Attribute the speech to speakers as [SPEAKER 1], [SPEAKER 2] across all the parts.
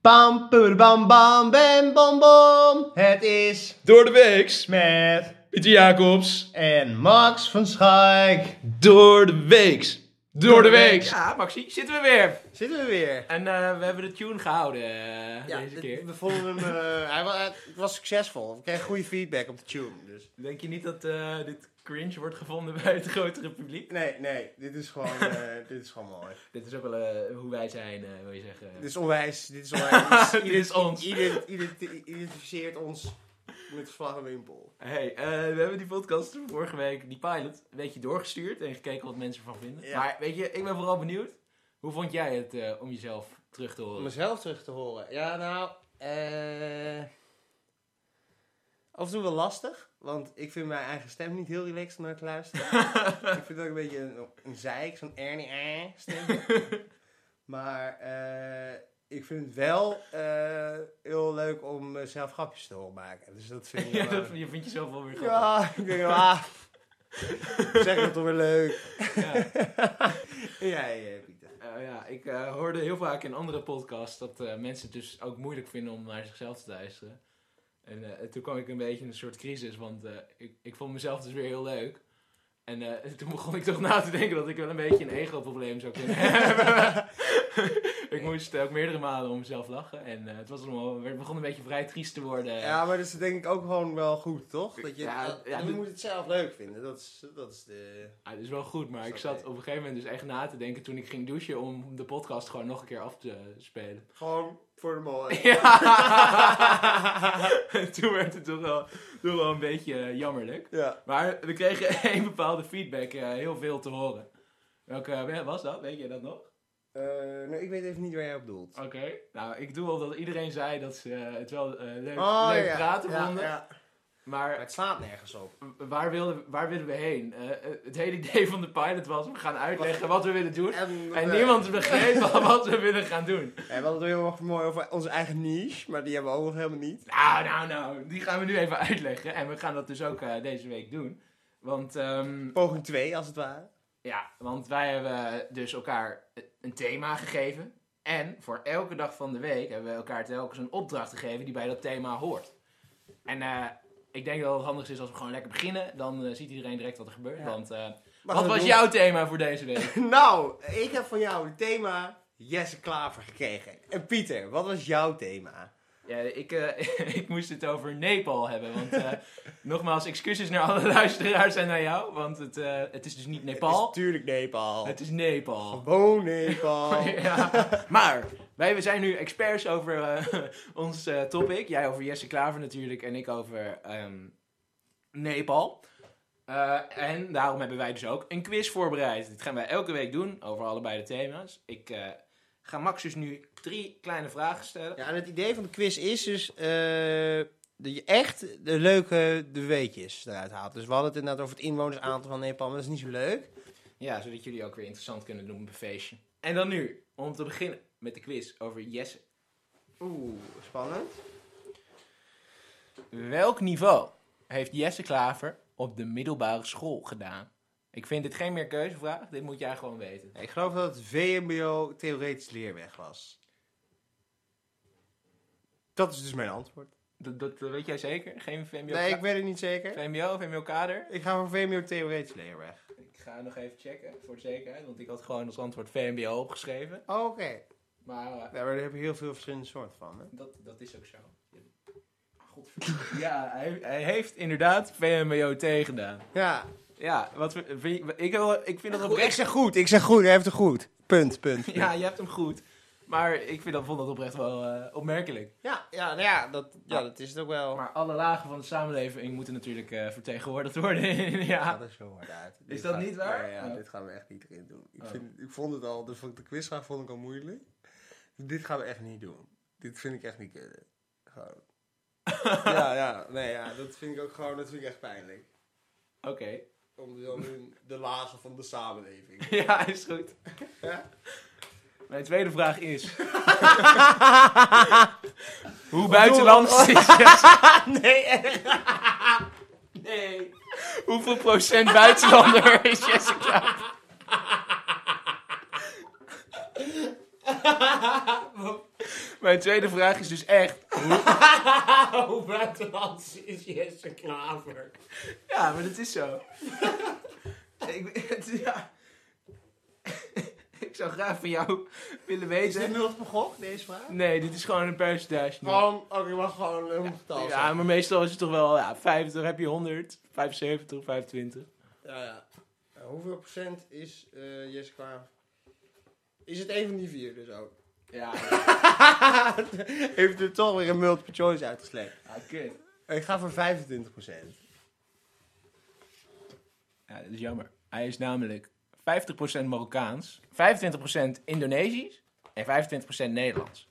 [SPEAKER 1] Bam, bam, bam, bam, bam, bam. Het is
[SPEAKER 2] Door de weeks.
[SPEAKER 1] met
[SPEAKER 2] Pieter Jacobs.
[SPEAKER 1] en Max van Schaik.
[SPEAKER 2] Door de weeks. Door, de weeks.
[SPEAKER 3] Ja, Maxi, zitten we weer.
[SPEAKER 1] Zitten we weer.
[SPEAKER 3] En eh, we hebben de tune gehouden eh,
[SPEAKER 1] Ja,
[SPEAKER 3] deze
[SPEAKER 1] dit-
[SPEAKER 3] keer.
[SPEAKER 1] we vonden hem, eh, hij was, het was succesvol. We kregen goede feedback op de tune. Dus.
[SPEAKER 3] Denk je niet dat eh, dit cringe wordt gevonden bij het grotere publiek?
[SPEAKER 1] Nee, nee, dit is gewoon, eh, dit is gewoon mooi.
[SPEAKER 3] Dit is ook wel eh, hoe wij zijn, eh, wil je zeggen.
[SPEAKER 1] Dit is onwijs, dit is onwijs.
[SPEAKER 3] Dit is ons.
[SPEAKER 1] Ident- ident- identificeert ons met vlag en wimpel.
[SPEAKER 3] Hey, eh, we hebben die podcast van vorige week, die pilot, een beetje doorgestuurd en gekeken wat mensen ervan vinden.
[SPEAKER 1] Ja.
[SPEAKER 3] Maar weet je, ik ben vooral benieuwd. Hoe vond jij het eh, om jezelf terug te
[SPEAKER 1] Om
[SPEAKER 3] horen?
[SPEAKER 1] mezelf terug te horen. Ja, nou, eh. Af en toe wel lastig, want ik vind mijn eigen stem niet heel relaxed om naar te luisteren. ik vind dat ik een beetje een, een zeik, zo'n ernie eh stem. maar eh, ik vind het wel eh, heel leuk om eh, zelf grapjes te horen maken. Dus dat vind ik
[SPEAKER 3] ja,
[SPEAKER 1] wel-
[SPEAKER 3] dat, je vindt jezelf wel weer grappig.
[SPEAKER 1] ja, ik denk wel, ah, zeg dat toch weer leuk.
[SPEAKER 3] Ja.
[SPEAKER 1] ja, ja, Pieter.
[SPEAKER 3] Eh, ja, ik eh, hoorde heel vaak in andere podcasts dat eh, mensen het dus ook moeilijk vinden om naar zichzelf te luisteren. En eh, toen kwam ik een beetje in een soort crisis, want eh, ik, ik vond mezelf dus weer heel leuk. En eh, toen begon ik toch na te denken dat ik wel een beetje een ego-probleem zou kunnen hebben. ik moest eh, ook meerdere malen om mezelf lachen en eh, het was allemaal, het begon een beetje vrij triest te worden.
[SPEAKER 1] Ja, maar dat is denk ik ook gewoon wel goed, toch? Dat je,
[SPEAKER 3] Eh. Ja,
[SPEAKER 1] dat-
[SPEAKER 3] ja,
[SPEAKER 1] je
[SPEAKER 3] dit-
[SPEAKER 1] moet het zelf leuk vinden. Dat is, dat is de...
[SPEAKER 3] Ah, dat is wel goed, maar
[SPEAKER 1] Is
[SPEAKER 3] ik
[SPEAKER 1] oké.
[SPEAKER 3] zat op een gegeven moment dus echt na te denken toen ik ging douchen om de podcast gewoon nog een keer af te spelen.
[SPEAKER 1] Gewoon voor de mol.
[SPEAKER 3] Ja. Toen werd het toch wel, toch wel een beetje eh, jammerlijk.
[SPEAKER 1] Ja.
[SPEAKER 3] Maar we kregen een bepaalde feedback, eh, heel veel te horen. Welke eh, was dat? Weet je dat nog?
[SPEAKER 1] Eh, nou, ik weet even niet waar jij op doelt.
[SPEAKER 3] Oké. Nou, ik doe al dat iedereen zei dat ze eh, het wel eh, leuk,
[SPEAKER 1] Oh,
[SPEAKER 3] leuk
[SPEAKER 1] ja.
[SPEAKER 3] praten
[SPEAKER 1] Ja,
[SPEAKER 3] vonden.
[SPEAKER 1] ja. Maar
[SPEAKER 3] Maar eh,
[SPEAKER 1] het slaat nergens op.
[SPEAKER 3] waar wilden, waar wilden we heen? Eh, eh, het hele idee van de pilot was, we gaan uitleggen wat we willen doen.
[SPEAKER 1] En,
[SPEAKER 3] En niemand begreep wat we willen gaan doen.
[SPEAKER 1] We hadden het heel erg mooi over onze eigen niche, maar die hebben we ook nog helemaal niet.
[SPEAKER 3] Nou, nou, nou, die gaan we nu even uitleggen. En we gaan dat dus ook eh, deze week doen. Want, ehm,
[SPEAKER 1] Poging 2, als het ware.
[SPEAKER 3] ja, want wij hebben dus elkaar een thema gegeven. En voor elke dag van de week hebben we elkaar telkens een opdracht gegeven die bij dat thema hoort. En eh, ik denk dat het handig is als we gewoon lekker beginnen. Dan eh, ziet iedereen direct wat er gebeurt.
[SPEAKER 1] Ja.
[SPEAKER 3] Want, eh,
[SPEAKER 1] Maar
[SPEAKER 3] wat
[SPEAKER 1] goed,
[SPEAKER 3] was
[SPEAKER 1] doen.
[SPEAKER 3] jouw thema voor deze week?
[SPEAKER 1] Nou, ik heb van jou het thema Jesse Klaver gekregen. En Pieter, wat was jouw thema?
[SPEAKER 3] Ja, ik, eh, ik moest het over Nepal hebben. Want eh, nogmaals, excuses naar alle luisteraars en naar jou. Want het, eh, het is dus niet
[SPEAKER 1] Het
[SPEAKER 3] Nepal.
[SPEAKER 1] is natuurlijk Nepal.
[SPEAKER 3] Het is Nepal.
[SPEAKER 1] Gewoon Nepal.
[SPEAKER 3] Ja. Maar wij we zijn nu experts over eh, ons eh, topic. Jij over Jesse Klaver natuurlijk en ik over ehm, Nepal. Eh, en daarom hebben wij dus ook een quiz voorbereid. Dit gaan wij elke week doen over allebei de thema's. Ik eh, ga Max dus nu drie kleine vragen stellen.
[SPEAKER 1] Ja, en het idee van de quiz is dus eh, dat je echt de leuke de weetjes eruit haalt. Dus we hadden het inderdaad over het inwonersaantal van Nepal, maar dat is niet zo leuk.
[SPEAKER 3] Ja, zodat jullie ook weer interessant kunnen doen op een feestje. En dan nu, om te beginnen met de quiz over Jesse.
[SPEAKER 1] Oeh, spannend.
[SPEAKER 3] Welk niveau heeft Jesse Klaver op de middelbare school gedaan? Ik vind dit geen meer keuzevraag, dit moet jij gewoon weten.
[SPEAKER 1] Ik geloof dat het VMBO theoretisch leerweg was. Dat is dus mijn antwoord.
[SPEAKER 3] Dat, dat weet jij zeker? Geen VMBO?
[SPEAKER 1] Nee, ik weet het niet zeker.
[SPEAKER 3] VMBO, VMBO kader?
[SPEAKER 1] Ik ga voor VMBO theoretisch leerweg.
[SPEAKER 3] Ik ga nog even checken, voor de zekerheid, want ik had gewoon als antwoord VMBO opgeschreven.
[SPEAKER 1] Oh, Oké.
[SPEAKER 3] Maar eh,
[SPEAKER 1] Ja, maar daar heb je heel veel verschillende soorten van. Hè?
[SPEAKER 3] dat, dat is ook zo. Godverdomme. Ja, hij, hij heeft inderdaad VMBO T gedaan.
[SPEAKER 1] Ja.
[SPEAKER 3] Ja, wat, we- vind je- ik, wil- ik vind dat
[SPEAKER 1] Goed, ik
[SPEAKER 3] oprecht...
[SPEAKER 1] zeg goed, ik zeg goed, hij heeft het goed. Punt, punt. punt.
[SPEAKER 3] Ja, je hebt hem goed. Maar ik vind dat, vond dat oprecht wel eh, opmerkelijk.
[SPEAKER 1] ja, ja, nou ja, dat, ja, dat is het ook wel.
[SPEAKER 3] Maar alle lagen van de samenleving moeten natuurlijk eh, vertegenwoordigd worden.
[SPEAKER 1] gaat
[SPEAKER 3] ja.
[SPEAKER 1] er zo hard uit.
[SPEAKER 3] Is dat
[SPEAKER 1] gaat-
[SPEAKER 3] niet waar?
[SPEAKER 1] Nee, ja,
[SPEAKER 3] Oh.
[SPEAKER 1] dit gaan we echt niet erin doen. Ik,
[SPEAKER 3] Oh.
[SPEAKER 1] vind, ik vond het al, de, de quizvraag vond ik al moeilijk. Dit gaan we echt niet doen. Dit vind ik echt niet kunnen. Gewoon. ja, ja, nee, ja, dat vind ik ook gewoon, dat vind ik echt pijnlijk.
[SPEAKER 3] Oké.
[SPEAKER 1] Om dan in de lagen van de samenleving.
[SPEAKER 3] ja, is goed.
[SPEAKER 1] Ja?
[SPEAKER 3] Mijn tweede vraag is... Hoe buitenlands is
[SPEAKER 1] nee, echt.
[SPEAKER 3] Nee. Hoeveel procent buitenlander is Jesse Klaver? Mijn tweede vraag is dus echt.
[SPEAKER 1] Hoe buitenlands is Jesse Klaver?
[SPEAKER 3] Ja, maar dat is zo. ik, het- ja. ik zou graag van jou willen
[SPEAKER 1] Is dit Oh,
[SPEAKER 3] weten.
[SPEAKER 1] nu op gok, deze vraag?
[SPEAKER 3] Nee, dit is gewoon een percentage. nu.
[SPEAKER 1] Gewoon, oké, maar gewoon een getal.
[SPEAKER 3] Ja,
[SPEAKER 1] Ja,
[SPEAKER 3] maar meestal is het toch wel ja, 50, heb je 100, 75, 25.
[SPEAKER 1] ja, ja. Nou, hoeveel procent is eh Jesse Klaver? Is het een van die vier dus ook?
[SPEAKER 4] Ja,
[SPEAKER 1] Heeft u toch weer een multiple choice uitgesleept?
[SPEAKER 4] ja, kut.
[SPEAKER 1] Ik ga voor 25 procent.
[SPEAKER 3] Ja, dat is jammer. Hij is namelijk 50% Marokkaans, 25% Indonesisch en 25% Nederlands.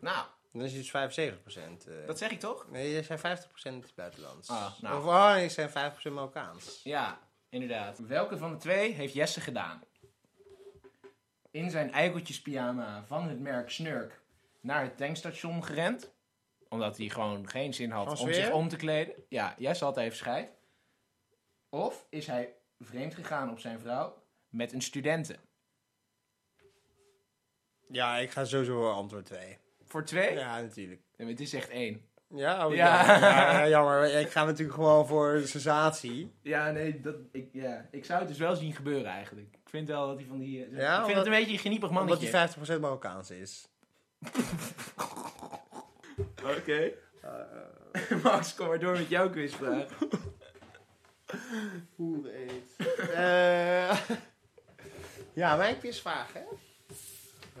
[SPEAKER 4] Nou,
[SPEAKER 1] Dan is het dus 75 procent.
[SPEAKER 3] Dat zeg ik toch?
[SPEAKER 1] Nee, jij zei 50 procent buitenlands.
[SPEAKER 3] Ah, nou.
[SPEAKER 1] Of oh, ik zei 5 procent Marokkaans.
[SPEAKER 3] Ja, inderdaad. Welke van de twee heeft Jesse gedaan? In zijn eikeltjespyjama van het merk Snurk naar het tankstation gerend. Omdat hij gewoon geen zin had
[SPEAKER 1] Van
[SPEAKER 3] om zich
[SPEAKER 1] sfeer?
[SPEAKER 3] om te kleden. Ja, Jesse had even scheid. Of is hij vreemd gegaan op zijn vrouw met een studenten?
[SPEAKER 1] Ja, ik ga sowieso voor antwoord 2.
[SPEAKER 3] Voor twee?
[SPEAKER 1] Ja, natuurlijk.
[SPEAKER 3] Nee, maar Het is echt één.
[SPEAKER 1] Ja, oh,
[SPEAKER 3] Ja.
[SPEAKER 1] ja. ja, jammer. Ik ga natuurlijk gewoon voor de sensatie.
[SPEAKER 3] Ja, nee, dat, ik, ja. ik zou het dus wel zien gebeuren eigenlijk. Ik vind wel dat hij van die... eh,
[SPEAKER 1] Ja,
[SPEAKER 3] ik vind
[SPEAKER 1] omdat-
[SPEAKER 3] het een beetje een geniepig mannetje.
[SPEAKER 1] Omdat hij 50 procent Marokkaans is.
[SPEAKER 3] Oké. Max, kom maar door met jouw quizvraag.
[SPEAKER 1] Hoe eet. Eh ja, mijn quizvraag, hè?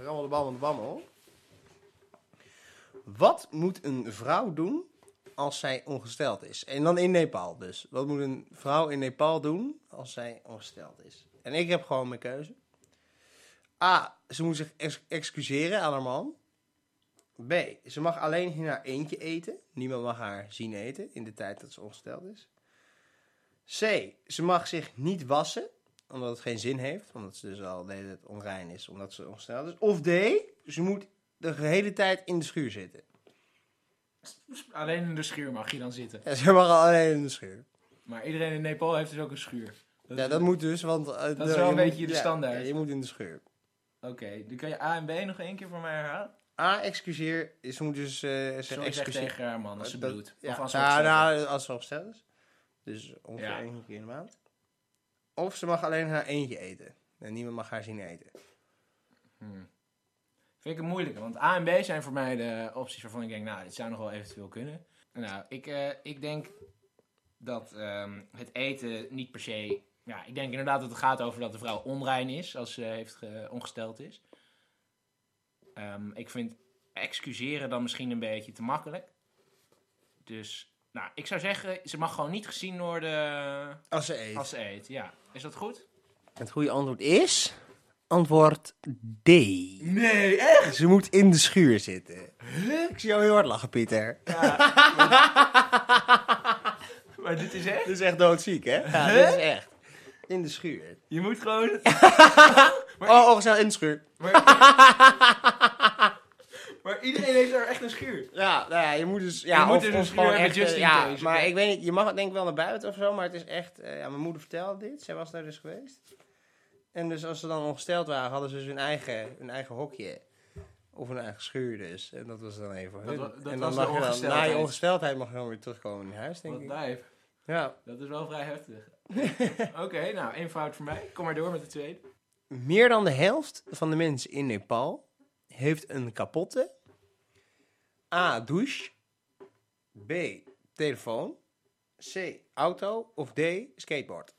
[SPEAKER 1] Rammel de bammel de bammel. Wat moet een vrouw doen als zij ongesteld is? En dan in Nepal dus. Wat moet een vrouw in Nepal doen als zij ongesteld is? En ik heb gewoon mijn keuze. A. Ze moet zich ex- excuseren aan haar man. B. Ze mag alleen in haar eentje eten. Niemand mag haar zien eten in de tijd dat ze ongesteld is. C. Ze mag zich niet wassen, omdat het geen zin heeft. Omdat ze dus al de hele tijd onrein is, omdat ze ongesteld is. Of D. Ze moet de hele tijd in de schuur zitten.
[SPEAKER 3] Alleen in de schuur mag je dan zitten.
[SPEAKER 1] Ja, ze mag alleen in de schuur.
[SPEAKER 3] Maar iedereen in Nepal heeft dus ook een schuur. Dat
[SPEAKER 1] Ja,
[SPEAKER 3] is-
[SPEAKER 1] dat moet dus, want... eh,
[SPEAKER 3] is wel
[SPEAKER 1] je
[SPEAKER 3] een beetje de
[SPEAKER 1] ja,
[SPEAKER 3] standaard.
[SPEAKER 1] ja, je moet in de schuur.
[SPEAKER 3] Oké, dan kan je A en B nog één keer voor mij herhalen.
[SPEAKER 1] A. Excuseer. Ze moet dus eh zeggen
[SPEAKER 3] Sorry, zeg
[SPEAKER 1] excuseer.
[SPEAKER 3] tegen haar man als ze
[SPEAKER 1] Dat-
[SPEAKER 3] bloedt.
[SPEAKER 1] Ja,
[SPEAKER 3] Of als ze
[SPEAKER 1] ja,
[SPEAKER 3] opzet.
[SPEAKER 1] nou, als ze opgesteld is. Dus ongeveer
[SPEAKER 3] Ja.
[SPEAKER 1] één keer in de maand. Of ze mag alleen haar eentje eten. En niemand mag haar zien eten.
[SPEAKER 3] Hmm. Vind ik het moeilijker, want A en B zijn voor mij de opties waarvan ik denk, nou, dit zou nog wel eventueel kunnen. Nou, ik, eh, ik denk dat ehm, het eten niet per se... Ja, ik denk inderdaad dat het gaat over dat de vrouw onrein is als ze heeft ge- ongesteld is. Ehm, ik vind excuseren dan misschien een beetje te makkelijk. Dus, nou, ik zou zeggen, ze mag gewoon niet gezien worden
[SPEAKER 1] Als ze eet.
[SPEAKER 3] als ze eet. Ja, is dat goed?
[SPEAKER 1] Het goede antwoord is. Antwoord D.
[SPEAKER 3] Nee, echt?
[SPEAKER 1] Ze moet in de schuur zitten. Ik zie jou heel hard lachen, Pieter.
[SPEAKER 3] Maar dit is echt?
[SPEAKER 1] Dit is echt doodziek, hè? Ja, dit is echt. In de schuur.
[SPEAKER 3] Je moet gewoon...
[SPEAKER 1] Oh, ongesteld in de schuur.
[SPEAKER 3] Maar iedereen heeft daar echt een schuur.
[SPEAKER 1] Ja, nou ja, je moet dus... Ja,
[SPEAKER 3] Je moet
[SPEAKER 1] of,
[SPEAKER 3] dus
[SPEAKER 1] of
[SPEAKER 3] een schuur
[SPEAKER 1] gewoon
[SPEAKER 3] hebben
[SPEAKER 1] echt,
[SPEAKER 3] just
[SPEAKER 1] eh,
[SPEAKER 3] in
[SPEAKER 1] ja,
[SPEAKER 3] case,
[SPEAKER 1] Maar
[SPEAKER 3] oké.
[SPEAKER 1] ik weet niet, je mag het denk ik wel naar buiten of zo, maar het is echt... eh, ja, mijn moeder vertelde dit. Zij was daar dus geweest. En dus als ze dan ongesteld waren, hadden ze dus hun eigen, hun eigen hokje. Of hun eigen schuur dus. En dat was dan even voor
[SPEAKER 4] Dat
[SPEAKER 1] hun.
[SPEAKER 4] wa- dat
[SPEAKER 1] en dan
[SPEAKER 4] was de
[SPEAKER 1] mag je dan, na je
[SPEAKER 4] ongesteldheid.
[SPEAKER 1] ongesteldheid mag je dan weer terugkomen in huis, denk
[SPEAKER 3] Wat
[SPEAKER 1] ik.
[SPEAKER 3] lijf.
[SPEAKER 1] Ja.
[SPEAKER 3] Dat is wel vrij heftig. Oké, nou, één fout voor mij. Kom maar door met de tweede.
[SPEAKER 1] Meer dan de helft van de mensen in Nepal heeft een kapotte A. douche, B. telefoon, C. auto of D. skateboard.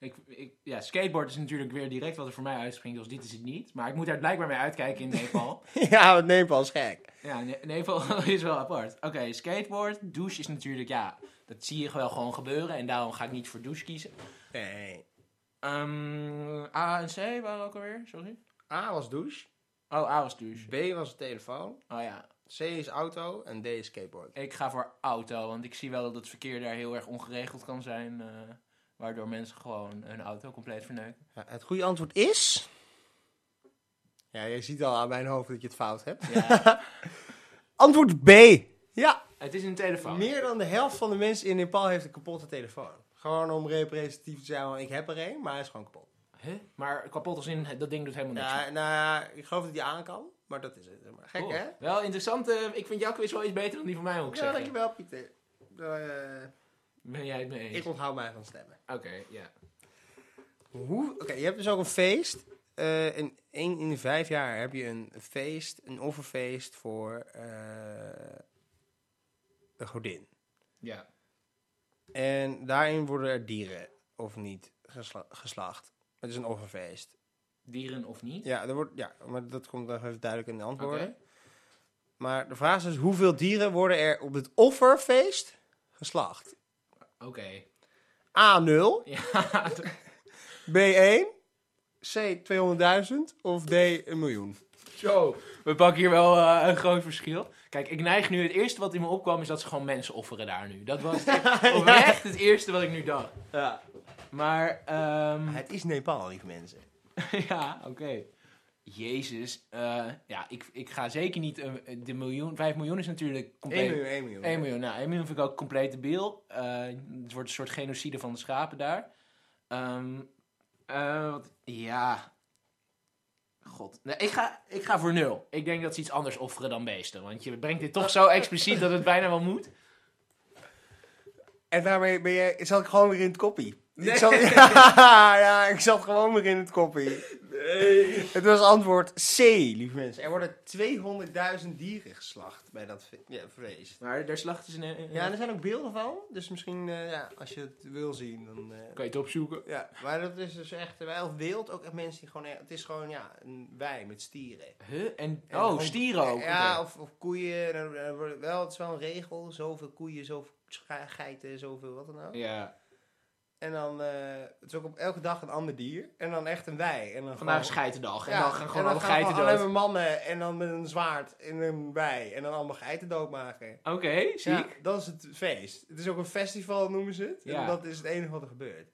[SPEAKER 3] Ik, ik, ja, skateboard is natuurlijk weer direct wat er voor mij uitspringt, dus dit is het niet. Maar ik moet daar blijkbaar mee uitkijken in Nepal.
[SPEAKER 1] ja, wat Nepal is gek.
[SPEAKER 3] ja, Ne- Nepal is wel apart. Oké, skateboard, douche is natuurlijk, ja, dat zie je wel gewoon gebeuren. En daarom ga ik niet voor douche kiezen.
[SPEAKER 1] Nee.
[SPEAKER 3] Ehm, A en C waren ook alweer, sorry.
[SPEAKER 1] A was douche,
[SPEAKER 3] Oh, A was douche.
[SPEAKER 1] B was telefoon,
[SPEAKER 3] Oh ja,
[SPEAKER 1] C is auto en D is skateboard.
[SPEAKER 3] ik ga voor auto, want ik zie wel dat het verkeer daar heel erg ongeregeld kan zijn. eh, waardoor mensen gewoon hun auto compleet verneuken.
[SPEAKER 1] Ja, het goede antwoord is... Ja, je ziet al aan mijn hoofd dat je het fout hebt.
[SPEAKER 3] Ja,
[SPEAKER 1] Antwoord B. Ja,
[SPEAKER 3] het is een telefoon.
[SPEAKER 1] Meer dan de helft van de mensen in Nepal heeft een kapotte telefoon. Gewoon om representatief te zijn, want ik heb er een, maar hij is gewoon kapot.
[SPEAKER 3] Huh? Maar kapot als in, dat ding doet helemaal niks.
[SPEAKER 1] Ja, nou ja, ik geloof dat hij aan kan. Maar dat is het. zeg Maar gek,
[SPEAKER 3] Cool.
[SPEAKER 1] hè?
[SPEAKER 3] Wel interessant. eh, ik vind jouw quiz wel iets beter dan die van mij, moet ik
[SPEAKER 1] Ja,
[SPEAKER 3] zeggen.
[SPEAKER 1] dankjewel, Pieter. Eh,
[SPEAKER 3] Ben jij het mee eens?
[SPEAKER 1] ik onthoud mij van stemmen.
[SPEAKER 3] Oké, ja.
[SPEAKER 1] Hoe? Oké, je hebt dus ook een feest. Eh in, één in de vijf jaar heb je een feest, een offerfeest voor eh de godin.
[SPEAKER 3] Ja.
[SPEAKER 1] En daarin worden er dieren of niet gesla- geslacht. Het is een offerfeest.
[SPEAKER 5] Dieren of niet?
[SPEAKER 1] Ja, er wordt, ja, maar dat komt nog even duidelijk in de antwoorden. Maar de vraag is dus, hoeveel dieren worden er op dit offerfeest geslacht?
[SPEAKER 3] Oké.
[SPEAKER 1] A0,
[SPEAKER 3] Ja,
[SPEAKER 1] B1, C 200.000 of D een miljoen?
[SPEAKER 3] Zo, we pakken hier wel eh, een groot verschil. Kijk, ik neig nu, het eerste wat in me opkwam is dat ze gewoon mensen offeren daar nu. Dat was oprecht het eerste wat ik nu dacht.
[SPEAKER 1] Ja.
[SPEAKER 3] Maar, ehm,
[SPEAKER 1] Het is Nepal, lieve mensen.
[SPEAKER 3] ja, oké. Jezus, eh, ja, ik, ik ga zeker niet, een- de miljoen, 5 miljoen is natuurlijk compleet...
[SPEAKER 1] 1 miljoen, 1 miljoen.
[SPEAKER 3] 1 miljoen, nou, 1 miljoen vind ik ook compleet debiel. Eh het wordt een soort genocide van de schapen daar. Ehm, eh, wat- ja. God. Nee, ik, ga, ik ga voor nul. Ik denk dat ze iets anders offeren dan beesten. Want je brengt dit toch zo expliciet dat het bijna wel moet.
[SPEAKER 1] En daarmee ben je, zat ik gewoon weer in het koppie.
[SPEAKER 3] Nee.
[SPEAKER 1] Ik zat, ja, ja, ik zat gewoon weer in het koppie. Nee. Het was antwoord C, lieve mensen. Er worden 200.000 dieren geslacht bij dat fe- ja, feest.
[SPEAKER 3] Maar daar slachten ze... een-
[SPEAKER 1] Ja, en er zijn ook beelden van. Dus misschien, eh, ja, als je het wil zien, dan... eh,
[SPEAKER 3] Kan je het opzoeken?
[SPEAKER 1] ja, maar dat is dus echt, wij of wild, ook echt mensen die gewoon, eh, het is gewoon, ja, een wij met stieren.
[SPEAKER 3] Huh? En,
[SPEAKER 1] En
[SPEAKER 3] oh,
[SPEAKER 1] gewoon-
[SPEAKER 3] stieren ook.
[SPEAKER 1] Ja,
[SPEAKER 3] Oké.
[SPEAKER 1] of, of koeien. dan- dan wordt- Wel, het is wel een regel. Zoveel koeien, zoveel scha- geiten, zoveel wat dan ook.
[SPEAKER 3] ja.
[SPEAKER 1] En dan, eh, het is ook op elke dag een ander dier. En dan echt een wij. En dan
[SPEAKER 3] Vandaag is
[SPEAKER 1] gewoon,
[SPEAKER 3] geitendag. En
[SPEAKER 1] Ja,
[SPEAKER 3] dan gaan
[SPEAKER 1] en
[SPEAKER 3] gewoon alle
[SPEAKER 1] gaan we
[SPEAKER 3] geiten
[SPEAKER 1] gewoon
[SPEAKER 3] dood.
[SPEAKER 1] alleen maar mannen en dan met een zwaard en een wij. En dan allemaal geiten doodmaken.
[SPEAKER 3] Oké, ziek.
[SPEAKER 1] Ja, dat is het feest. Het is ook een festival, noemen ze het.
[SPEAKER 3] Ja.
[SPEAKER 1] En dat is het enige wat er gebeurt.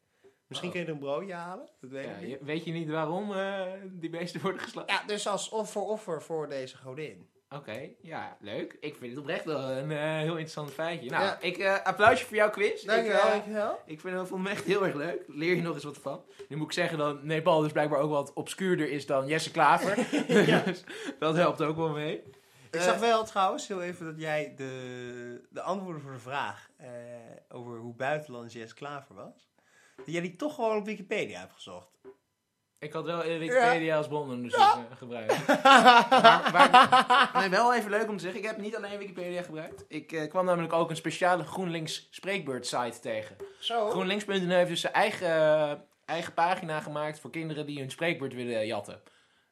[SPEAKER 1] Misschien
[SPEAKER 3] Oh.
[SPEAKER 1] kun je er een broodje halen. Dat weet
[SPEAKER 3] Ja,
[SPEAKER 1] ik niet.
[SPEAKER 3] je- weet je niet waarom eh, die beesten worden geslacht?
[SPEAKER 1] Ja, dus als offer-offer voor deze godin.
[SPEAKER 3] Oké, ja, leuk. Ik vind het oprecht wel een eh, heel interessant feitje. Nou,
[SPEAKER 1] Ja.
[SPEAKER 3] ik eh, applausje voor jouw quiz.
[SPEAKER 1] Dankjewel,
[SPEAKER 3] Ik, eh,
[SPEAKER 1] dankjewel.
[SPEAKER 3] ik vind het, vond hem echt heel erg leuk. Leer je nog eens wat van. Nu moet ik zeggen dat Nepal dus blijkbaar ook wat obscuurder is dan Jesse Klaver. dus dat helpt ook wel mee.
[SPEAKER 1] Ik
[SPEAKER 3] Eh,
[SPEAKER 1] zag wel trouwens heel even dat jij de, de antwoorden voor de vraag eh, over hoe buitenlands Jess Klaver was, dat jij die toch gewoon op Wikipedia hebt gezocht.
[SPEAKER 3] Ik had wel eh, Wikipedia als bron dus gebruikt. nee, wel even leuk om te zeggen. Ik heb niet alleen Wikipedia gebruikt. Ik eh, kwam namelijk ook een speciale GroenLinks spreekbeurt site tegen.
[SPEAKER 1] Zo.
[SPEAKER 3] GroenLinks.nl heeft dus zijn eigen, eh, eigen pagina gemaakt voor kinderen die hun spreekbeurt willen jatten.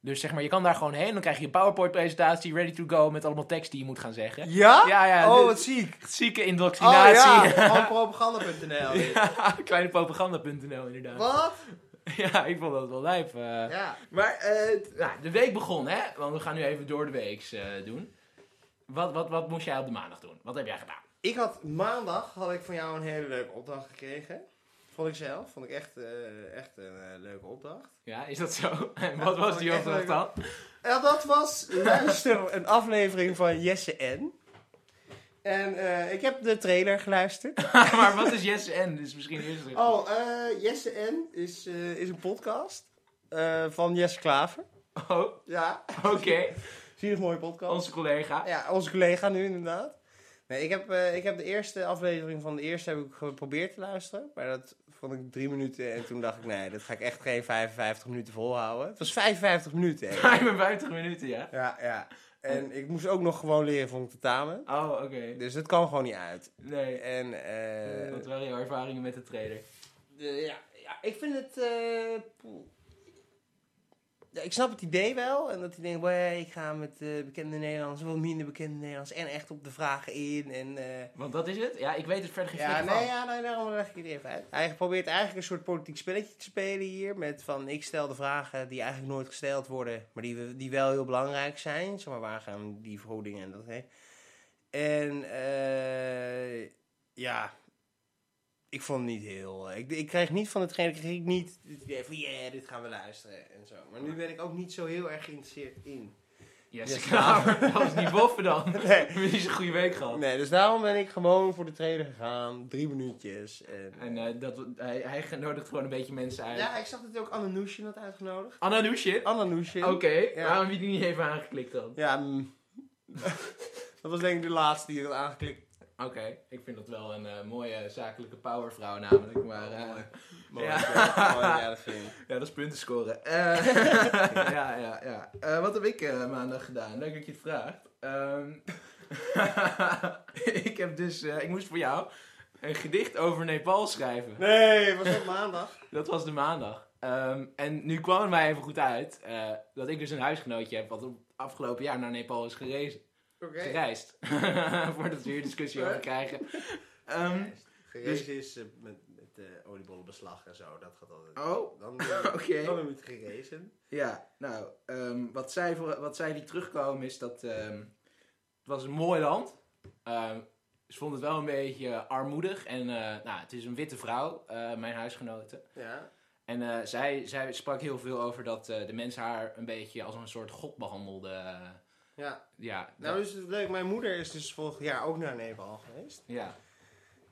[SPEAKER 3] Dus zeg maar, je kan daar gewoon heen. Dan krijg je een PowerPoint-presentatie, ready to go, met allemaal tekst die je moet gaan zeggen.
[SPEAKER 1] Ja?
[SPEAKER 3] Ja, ja.
[SPEAKER 1] Oh,
[SPEAKER 3] dit-
[SPEAKER 1] wat ziek.
[SPEAKER 3] Zieke
[SPEAKER 1] Oh
[SPEAKER 3] indoctrinatie.
[SPEAKER 1] ja, gewoon propaganda.nl.
[SPEAKER 3] Kleinepropaganda.nl inderdaad.
[SPEAKER 1] Wat?
[SPEAKER 3] Ja, ik vond dat wel lijp. eh.
[SPEAKER 1] Ja.
[SPEAKER 3] Maar eh, t- nou, de week begon, hè? Want we gaan nu even door de weeks eh, doen. Wat, wat, wat moest jij op de maandag doen? Wat heb jij gedaan?
[SPEAKER 1] Ik had maandag had ik van jou een hele leuke opdracht gekregen. Vond ik zelf. Vond ik echt, eh, echt een eh, leuke opdracht.
[SPEAKER 3] Ja, is dat zo? En wat was die
[SPEAKER 1] echt
[SPEAKER 3] opdracht dan?
[SPEAKER 1] leuk. En dat was, luister, een aflevering van Jesse N. En eh, ik heb de trailer geluisterd.
[SPEAKER 3] maar wat is Yes en? Dus misschien eerst terug.
[SPEAKER 1] Oh, eh, Jesse N is, eh, is een podcast eh, van Jesse Klaver.
[SPEAKER 3] Oh,
[SPEAKER 1] Ja,
[SPEAKER 3] oké.
[SPEAKER 1] zie je een mooie podcast.
[SPEAKER 3] Onze collega.
[SPEAKER 1] Ja, onze collega nu inderdaad. Nee, ik heb, eh, ik heb de eerste aflevering van de eerste heb ik geprobeerd te luisteren. Maar dat vond ik drie minuten en toen dacht ik, nee, dat ga ik echt geen 55 minuten volhouden. Het was 55 minuten. hè.
[SPEAKER 3] 55 minuten, ja.
[SPEAKER 1] Ja, ja. En ik moest ook nog gewoon leren van het tentamen.
[SPEAKER 3] Oh, oké.
[SPEAKER 1] Dus dat kan gewoon niet uit.
[SPEAKER 3] Nee.
[SPEAKER 1] En, eh,
[SPEAKER 3] Wat waren jouw ervaringen met de trailer?
[SPEAKER 1] de- ja, ja, ik vind het... eh, poeh. ja, ik snap het idee wel. En dat hij denkt, "Wee, ik ga met eh, bekende Nederlanders, wel minder bekende Nederlanders. En echt op de vragen in. En, eh,
[SPEAKER 3] Want dat is het? Ja, ik weet het verder geen
[SPEAKER 1] ja,
[SPEAKER 3] flikker
[SPEAKER 1] nee,
[SPEAKER 3] van.
[SPEAKER 1] ja, nee, daarom leg ik het even uit. Hij probeert eigenlijk een soort politiek spelletje te spelen hier. Met van, ik stel de vragen die eigenlijk nooit gesteld worden, maar die, we- die wel heel belangrijk zijn. Zeg maar, waar gaan die verhoudingen en dat heen? En, eh, ja, ik vond het niet heel... eh, Ik, ik kreeg niet van hetgeen, ik kreeg niet het idee van, yeah, dit gaan we luisteren en zo. Maar nu ben ik ook niet zo heel erg geïnteresseerd in.
[SPEAKER 3] Jesse
[SPEAKER 1] Jesse
[SPEAKER 3] Klaver. Dat was niet boffen dan.
[SPEAKER 1] Nee.
[SPEAKER 3] Heb je niet zo'n goede week gehad.
[SPEAKER 1] Nee, dus daarom ben ik gewoon voor de trainer gegaan. Drie minuutjes. En,
[SPEAKER 3] En eh, dat, hij, hij nodigt gewoon een beetje mensen uit.
[SPEAKER 1] ja, ik zag dat ook Ananushin had uitgenodigd.
[SPEAKER 3] Anna Nushin?
[SPEAKER 1] Ananushin.
[SPEAKER 3] Oké,
[SPEAKER 1] Ja.
[SPEAKER 3] waarom heb je die niet even aangeklikt dan?
[SPEAKER 1] Ja, mm. dat was denk ik de laatste die er aangeklikt.
[SPEAKER 3] Oké, ik vind dat wel een eh, mooie zakelijke powervrouw namelijk. Maar eh,
[SPEAKER 1] Mooi. Mooi,
[SPEAKER 3] Ja.
[SPEAKER 1] ja. mooi, ja, dat vind ik.
[SPEAKER 3] ja, dat is punten scoren. Eh, ja, ja, ja. Eh, wat heb ik eh, maandag gedaan? Leuk dat je het vraagt. Ehm, ik heb dus, eh, ik moest voor jou een gedicht over Nepal schrijven.
[SPEAKER 1] Nee, was op maandag.
[SPEAKER 3] Dat was de maandag. Ehm, en nu kwam het mij even goed uit eh, dat ik dus een huisgenootje heb wat op- afgelopen jaar naar Nepal is gerezen,
[SPEAKER 1] Oké.
[SPEAKER 3] gereisd. Voordat we hier discussie over krijgen. Ehm,
[SPEAKER 1] Gerezen is eh, met, met eh, oliebollenbeslag en zo. Dat gaat altijd.
[SPEAKER 3] oh,
[SPEAKER 1] Dan, eh,
[SPEAKER 3] Oké.
[SPEAKER 1] dan heb je het gerezen.
[SPEAKER 3] ja. Nou, ehm, wat, zij voor, wat zij die terugkomen is dat ehm, het was een mooi land. Ehm ze vond het wel een beetje eh, armoedig. En eh, nou, het is een witte vrouw, eh, mijn huisgenote.
[SPEAKER 1] Ja.
[SPEAKER 3] En eh, zij, zij sprak heel veel over dat eh, de mensen haar een beetje als een soort god behandelden. eh,
[SPEAKER 1] ja.
[SPEAKER 3] ja,
[SPEAKER 1] Nou
[SPEAKER 3] dat-
[SPEAKER 1] is het leuk. Mijn moeder is dus vorig jaar ook naar Nepal geweest.
[SPEAKER 3] ja.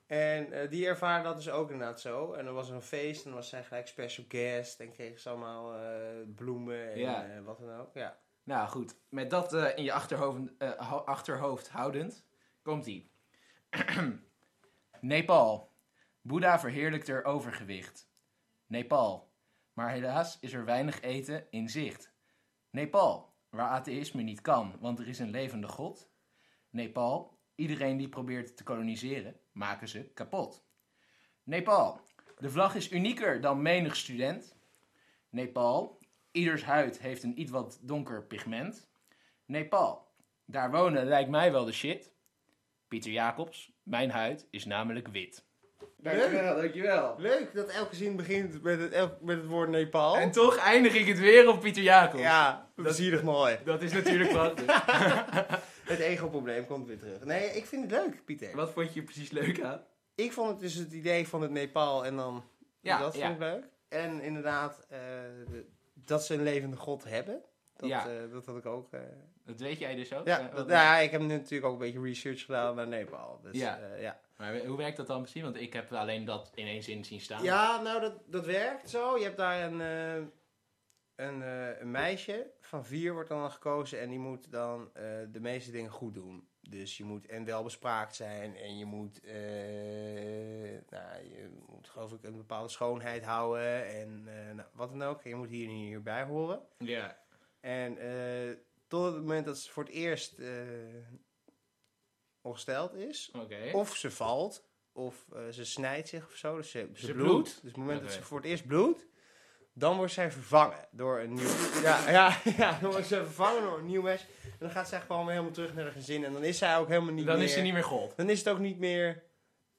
[SPEAKER 1] En eh, die ervaren dat dus ook inderdaad zo. En er was een feest en dan was zij gelijk special guest. En kregen ze allemaal eh, bloemen en
[SPEAKER 3] Ja.
[SPEAKER 1] eh, wat dan ook. Ja.
[SPEAKER 3] Nou goed, met dat eh, in je achterhoofd, eh, hou- achterhoofd houdend, komt ie. Nepal. Boeddha verheerlijkt er overgewicht. Nepal. Maar helaas is er weinig eten in zicht. Nepal, waar atheïsme niet kan, want er is een levende god. Nepal, iedereen die probeert te koloniseren, maken ze kapot. Nepal, de vlag is unieker dan menig student. Nepal, ieders huid heeft een iets wat donker pigment. Nepal, daar wonen lijkt mij wel de shit. Pieter Jacobs, mijn huid is namelijk wit.
[SPEAKER 1] Dankjewel,
[SPEAKER 3] dankjewel.
[SPEAKER 1] Leuk dat elke zin begint met het, elk- met het woord Nepal.
[SPEAKER 3] En toch eindig ik het weer op Pieter Jacobs.
[SPEAKER 1] Oh. ja,
[SPEAKER 3] Dat-
[SPEAKER 1] dat is hier mooi.
[SPEAKER 3] Dat is natuurlijk prachtig.
[SPEAKER 1] Het ego-probleem komt weer terug. Nee, ik vind het leuk, Pieter.
[SPEAKER 3] Wat vond je precies leuk aan?
[SPEAKER 1] Ik vond het dus het idee van het Nepal en dan
[SPEAKER 3] Ja,
[SPEAKER 1] dat
[SPEAKER 3] ja.
[SPEAKER 1] vind ik leuk. En inderdaad, eh, de- dat ze een levende god hebben. Dat,
[SPEAKER 3] Ja.
[SPEAKER 1] eh, dat had ik ook. eh,
[SPEAKER 3] Dat weet jij dus ook?
[SPEAKER 1] ja,
[SPEAKER 3] Eh,
[SPEAKER 1] dat,
[SPEAKER 3] wat-
[SPEAKER 1] nou ja, ik heb nu natuurlijk ook een beetje research gedaan naar Nepal. Dus,
[SPEAKER 3] Ja.
[SPEAKER 1] eh, ja.
[SPEAKER 3] Maar hoe werkt dat dan precies? Want ik heb alleen dat in één zin zien staan.
[SPEAKER 1] Ja, nou, dat, dat werkt zo. Je hebt daar een, eh, een, eh, een meisje van vier wordt dan gekozen en die moet dan eh, de meeste dingen goed doen. Dus je moet en wel bespraakt zijn en je moet, eh, nou, je moet geloof ik een bepaalde schoonheid houden en eh, nou, wat dan ook. Je moet hier en hierbij horen.
[SPEAKER 3] Ja.
[SPEAKER 1] En eh, tot het moment dat ze voor het eerst eh, ongesteld is,
[SPEAKER 3] Oké.
[SPEAKER 1] of ze valt, of eh, ze snijdt zich of zo. Dus ze, ze,
[SPEAKER 3] Ze
[SPEAKER 1] bloedt.
[SPEAKER 3] bloedt.
[SPEAKER 1] Dus op het moment dat
[SPEAKER 3] Oké.
[SPEAKER 1] ze voor het eerst bloedt, dan wordt zij vervangen door een nieuw... ja, ja, ja, dan wordt ze vervangen door een nieuw meisje. En dan gaat zij gewoon weer helemaal terug naar haar gezin. En dan is zij ook helemaal niet
[SPEAKER 3] dan
[SPEAKER 1] meer...
[SPEAKER 3] is ze niet meer god.
[SPEAKER 1] Dan is het ook niet meer...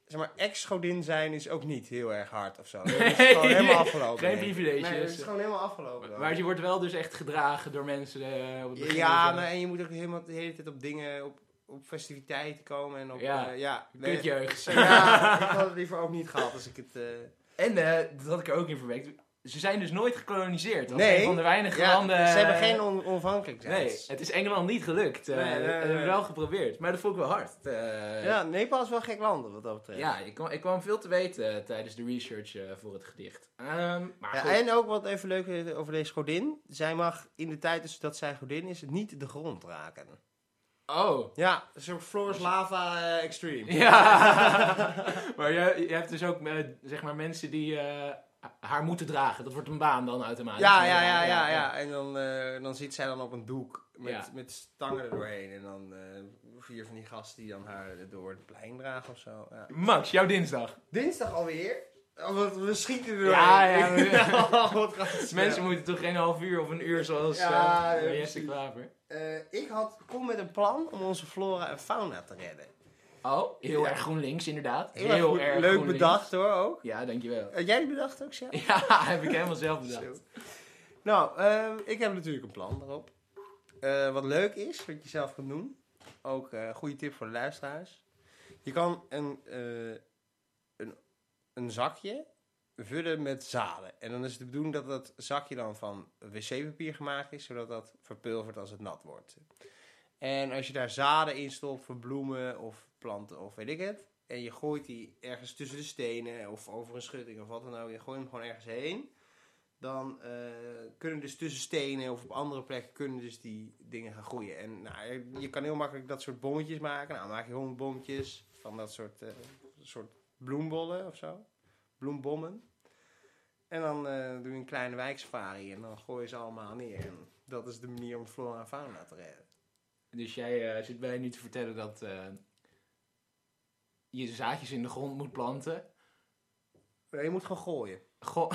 [SPEAKER 1] Zeg maar, ex-godin zijn is ook niet heel erg hard of zo. Dan is het
[SPEAKER 3] Nee.
[SPEAKER 1] gewoon helemaal afgelopen.
[SPEAKER 3] Geen
[SPEAKER 1] denk ik.
[SPEAKER 3] privileges.
[SPEAKER 1] Nee, het is gewoon helemaal afgelopen. dan.
[SPEAKER 3] Maar je wordt wel dus echt gedragen door mensen. eh, op het begin
[SPEAKER 1] Ja,
[SPEAKER 3] en zo.
[SPEAKER 1] maar en je moet ook helemaal de hele tijd op dingen, op, op festiviteiten komen en op...
[SPEAKER 3] Ja.
[SPEAKER 1] eh, ja. Nee,
[SPEAKER 3] Kutjeugd.
[SPEAKER 1] Ja, ik had het liever ook niet gehad als ik het... eh,
[SPEAKER 3] En eh, dat had ik er ook in verwerkt. Ze zijn dus nooit gekoloniseerd. Dat
[SPEAKER 1] Nee.
[SPEAKER 3] is een van de weinige
[SPEAKER 1] Ja,
[SPEAKER 3] landen. eh,
[SPEAKER 1] ze hebben geen on
[SPEAKER 3] Nee,
[SPEAKER 1] onafhankelijkheid.
[SPEAKER 3] het is Engeland niet gelukt. Eh
[SPEAKER 1] Nee, nee,
[SPEAKER 3] we
[SPEAKER 1] nee,
[SPEAKER 3] hebben
[SPEAKER 1] nee.
[SPEAKER 3] wel geprobeerd. Maar dat vond ik wel hard. Eh,
[SPEAKER 1] Ja, Nepal is wel gek land wat dat betreft.
[SPEAKER 3] ja, ik kwam, ik kwam veel te weten tijdens de research eh, voor het gedicht. Ehm, maar
[SPEAKER 1] Ja,
[SPEAKER 3] goed.
[SPEAKER 1] en ook wat even leuk is over deze godin. Zij mag in de tijd dus dat zij godin is, niet de grond raken.
[SPEAKER 3] Oh.
[SPEAKER 1] Ja, een soort floors lava eh, extreme.
[SPEAKER 3] Ja. maar je, je hebt dus ook eh, zeg maar mensen die eh, haar moeten dragen. Dat wordt een baan dan automatisch.
[SPEAKER 1] Ja, ja, ja, ja, ja. En dan, eh, dan zit zij dan op een doek met,
[SPEAKER 3] Ja.
[SPEAKER 1] met stangen er doorheen. En dan eh, vier van die gasten die dan haar door het plein dragen of zo. Ja.
[SPEAKER 3] Max, jouw dinsdag.
[SPEAKER 1] Dinsdag alweer. Oh, wat, we schieten er
[SPEAKER 3] Ja,
[SPEAKER 1] doorheen.
[SPEAKER 3] ja, we-
[SPEAKER 1] Oh, wat gaat het snel.
[SPEAKER 3] Mensen moeten toch geen half uur of een uur zoals eh
[SPEAKER 1] Ja, ja,
[SPEAKER 3] Jesse
[SPEAKER 1] precies.
[SPEAKER 3] Klaver.
[SPEAKER 1] Eh, ik had, kom met een plan om onze flora en fauna te redden.
[SPEAKER 3] Oh, heel
[SPEAKER 1] Ja.
[SPEAKER 3] erg GroenLinks inderdaad. Heel,
[SPEAKER 1] goed-
[SPEAKER 3] erg
[SPEAKER 1] Leuk
[SPEAKER 3] GroenLinks.
[SPEAKER 1] bedacht hoor ook.
[SPEAKER 3] Ja, dankjewel.
[SPEAKER 1] Had jij het bedacht ook, Sjaan?
[SPEAKER 3] Ja, heb ik helemaal zelf
[SPEAKER 1] Zo.
[SPEAKER 3] bedacht.
[SPEAKER 1] Nou, ehm, ik heb natuurlijk een plan daarop. Eh, wat leuk is, wat je zelf kan doen. Ook een goede tip voor de luisteraars. Je kan eh, een, eh, een, een zakje vullen met zaden. En dan is het de bedoeling dat dat zakje dan van wc-papier gemaakt is, zodat dat verpulvert als het nat wordt. En als je daar zaden in stopt voor bloemen of planten of weet ik het, en je gooit die ergens tussen de stenen of over een schutting of wat dan ook, je gooit hem gewoon ergens heen, dan eh, kunnen dus tussen stenen of op andere plekken kunnen dus die dingen gaan groeien. En nou, je- je kan heel makkelijk dat soort bommetjes maken. Nou, maak je gewoon bommetjes van dat soort, eh, soort bloembollen of zo bloembommen. En dan eh, doe je een kleine wijksafari en dan gooi je ze allemaal neer. En dat is de manier om flora en fauna te redden.
[SPEAKER 3] Dus jij eh, zit mij nu te vertellen dat eh, je zaadjes in de grond moet planten.
[SPEAKER 1] Nee, je moet gewoon gooien.
[SPEAKER 3] Goh,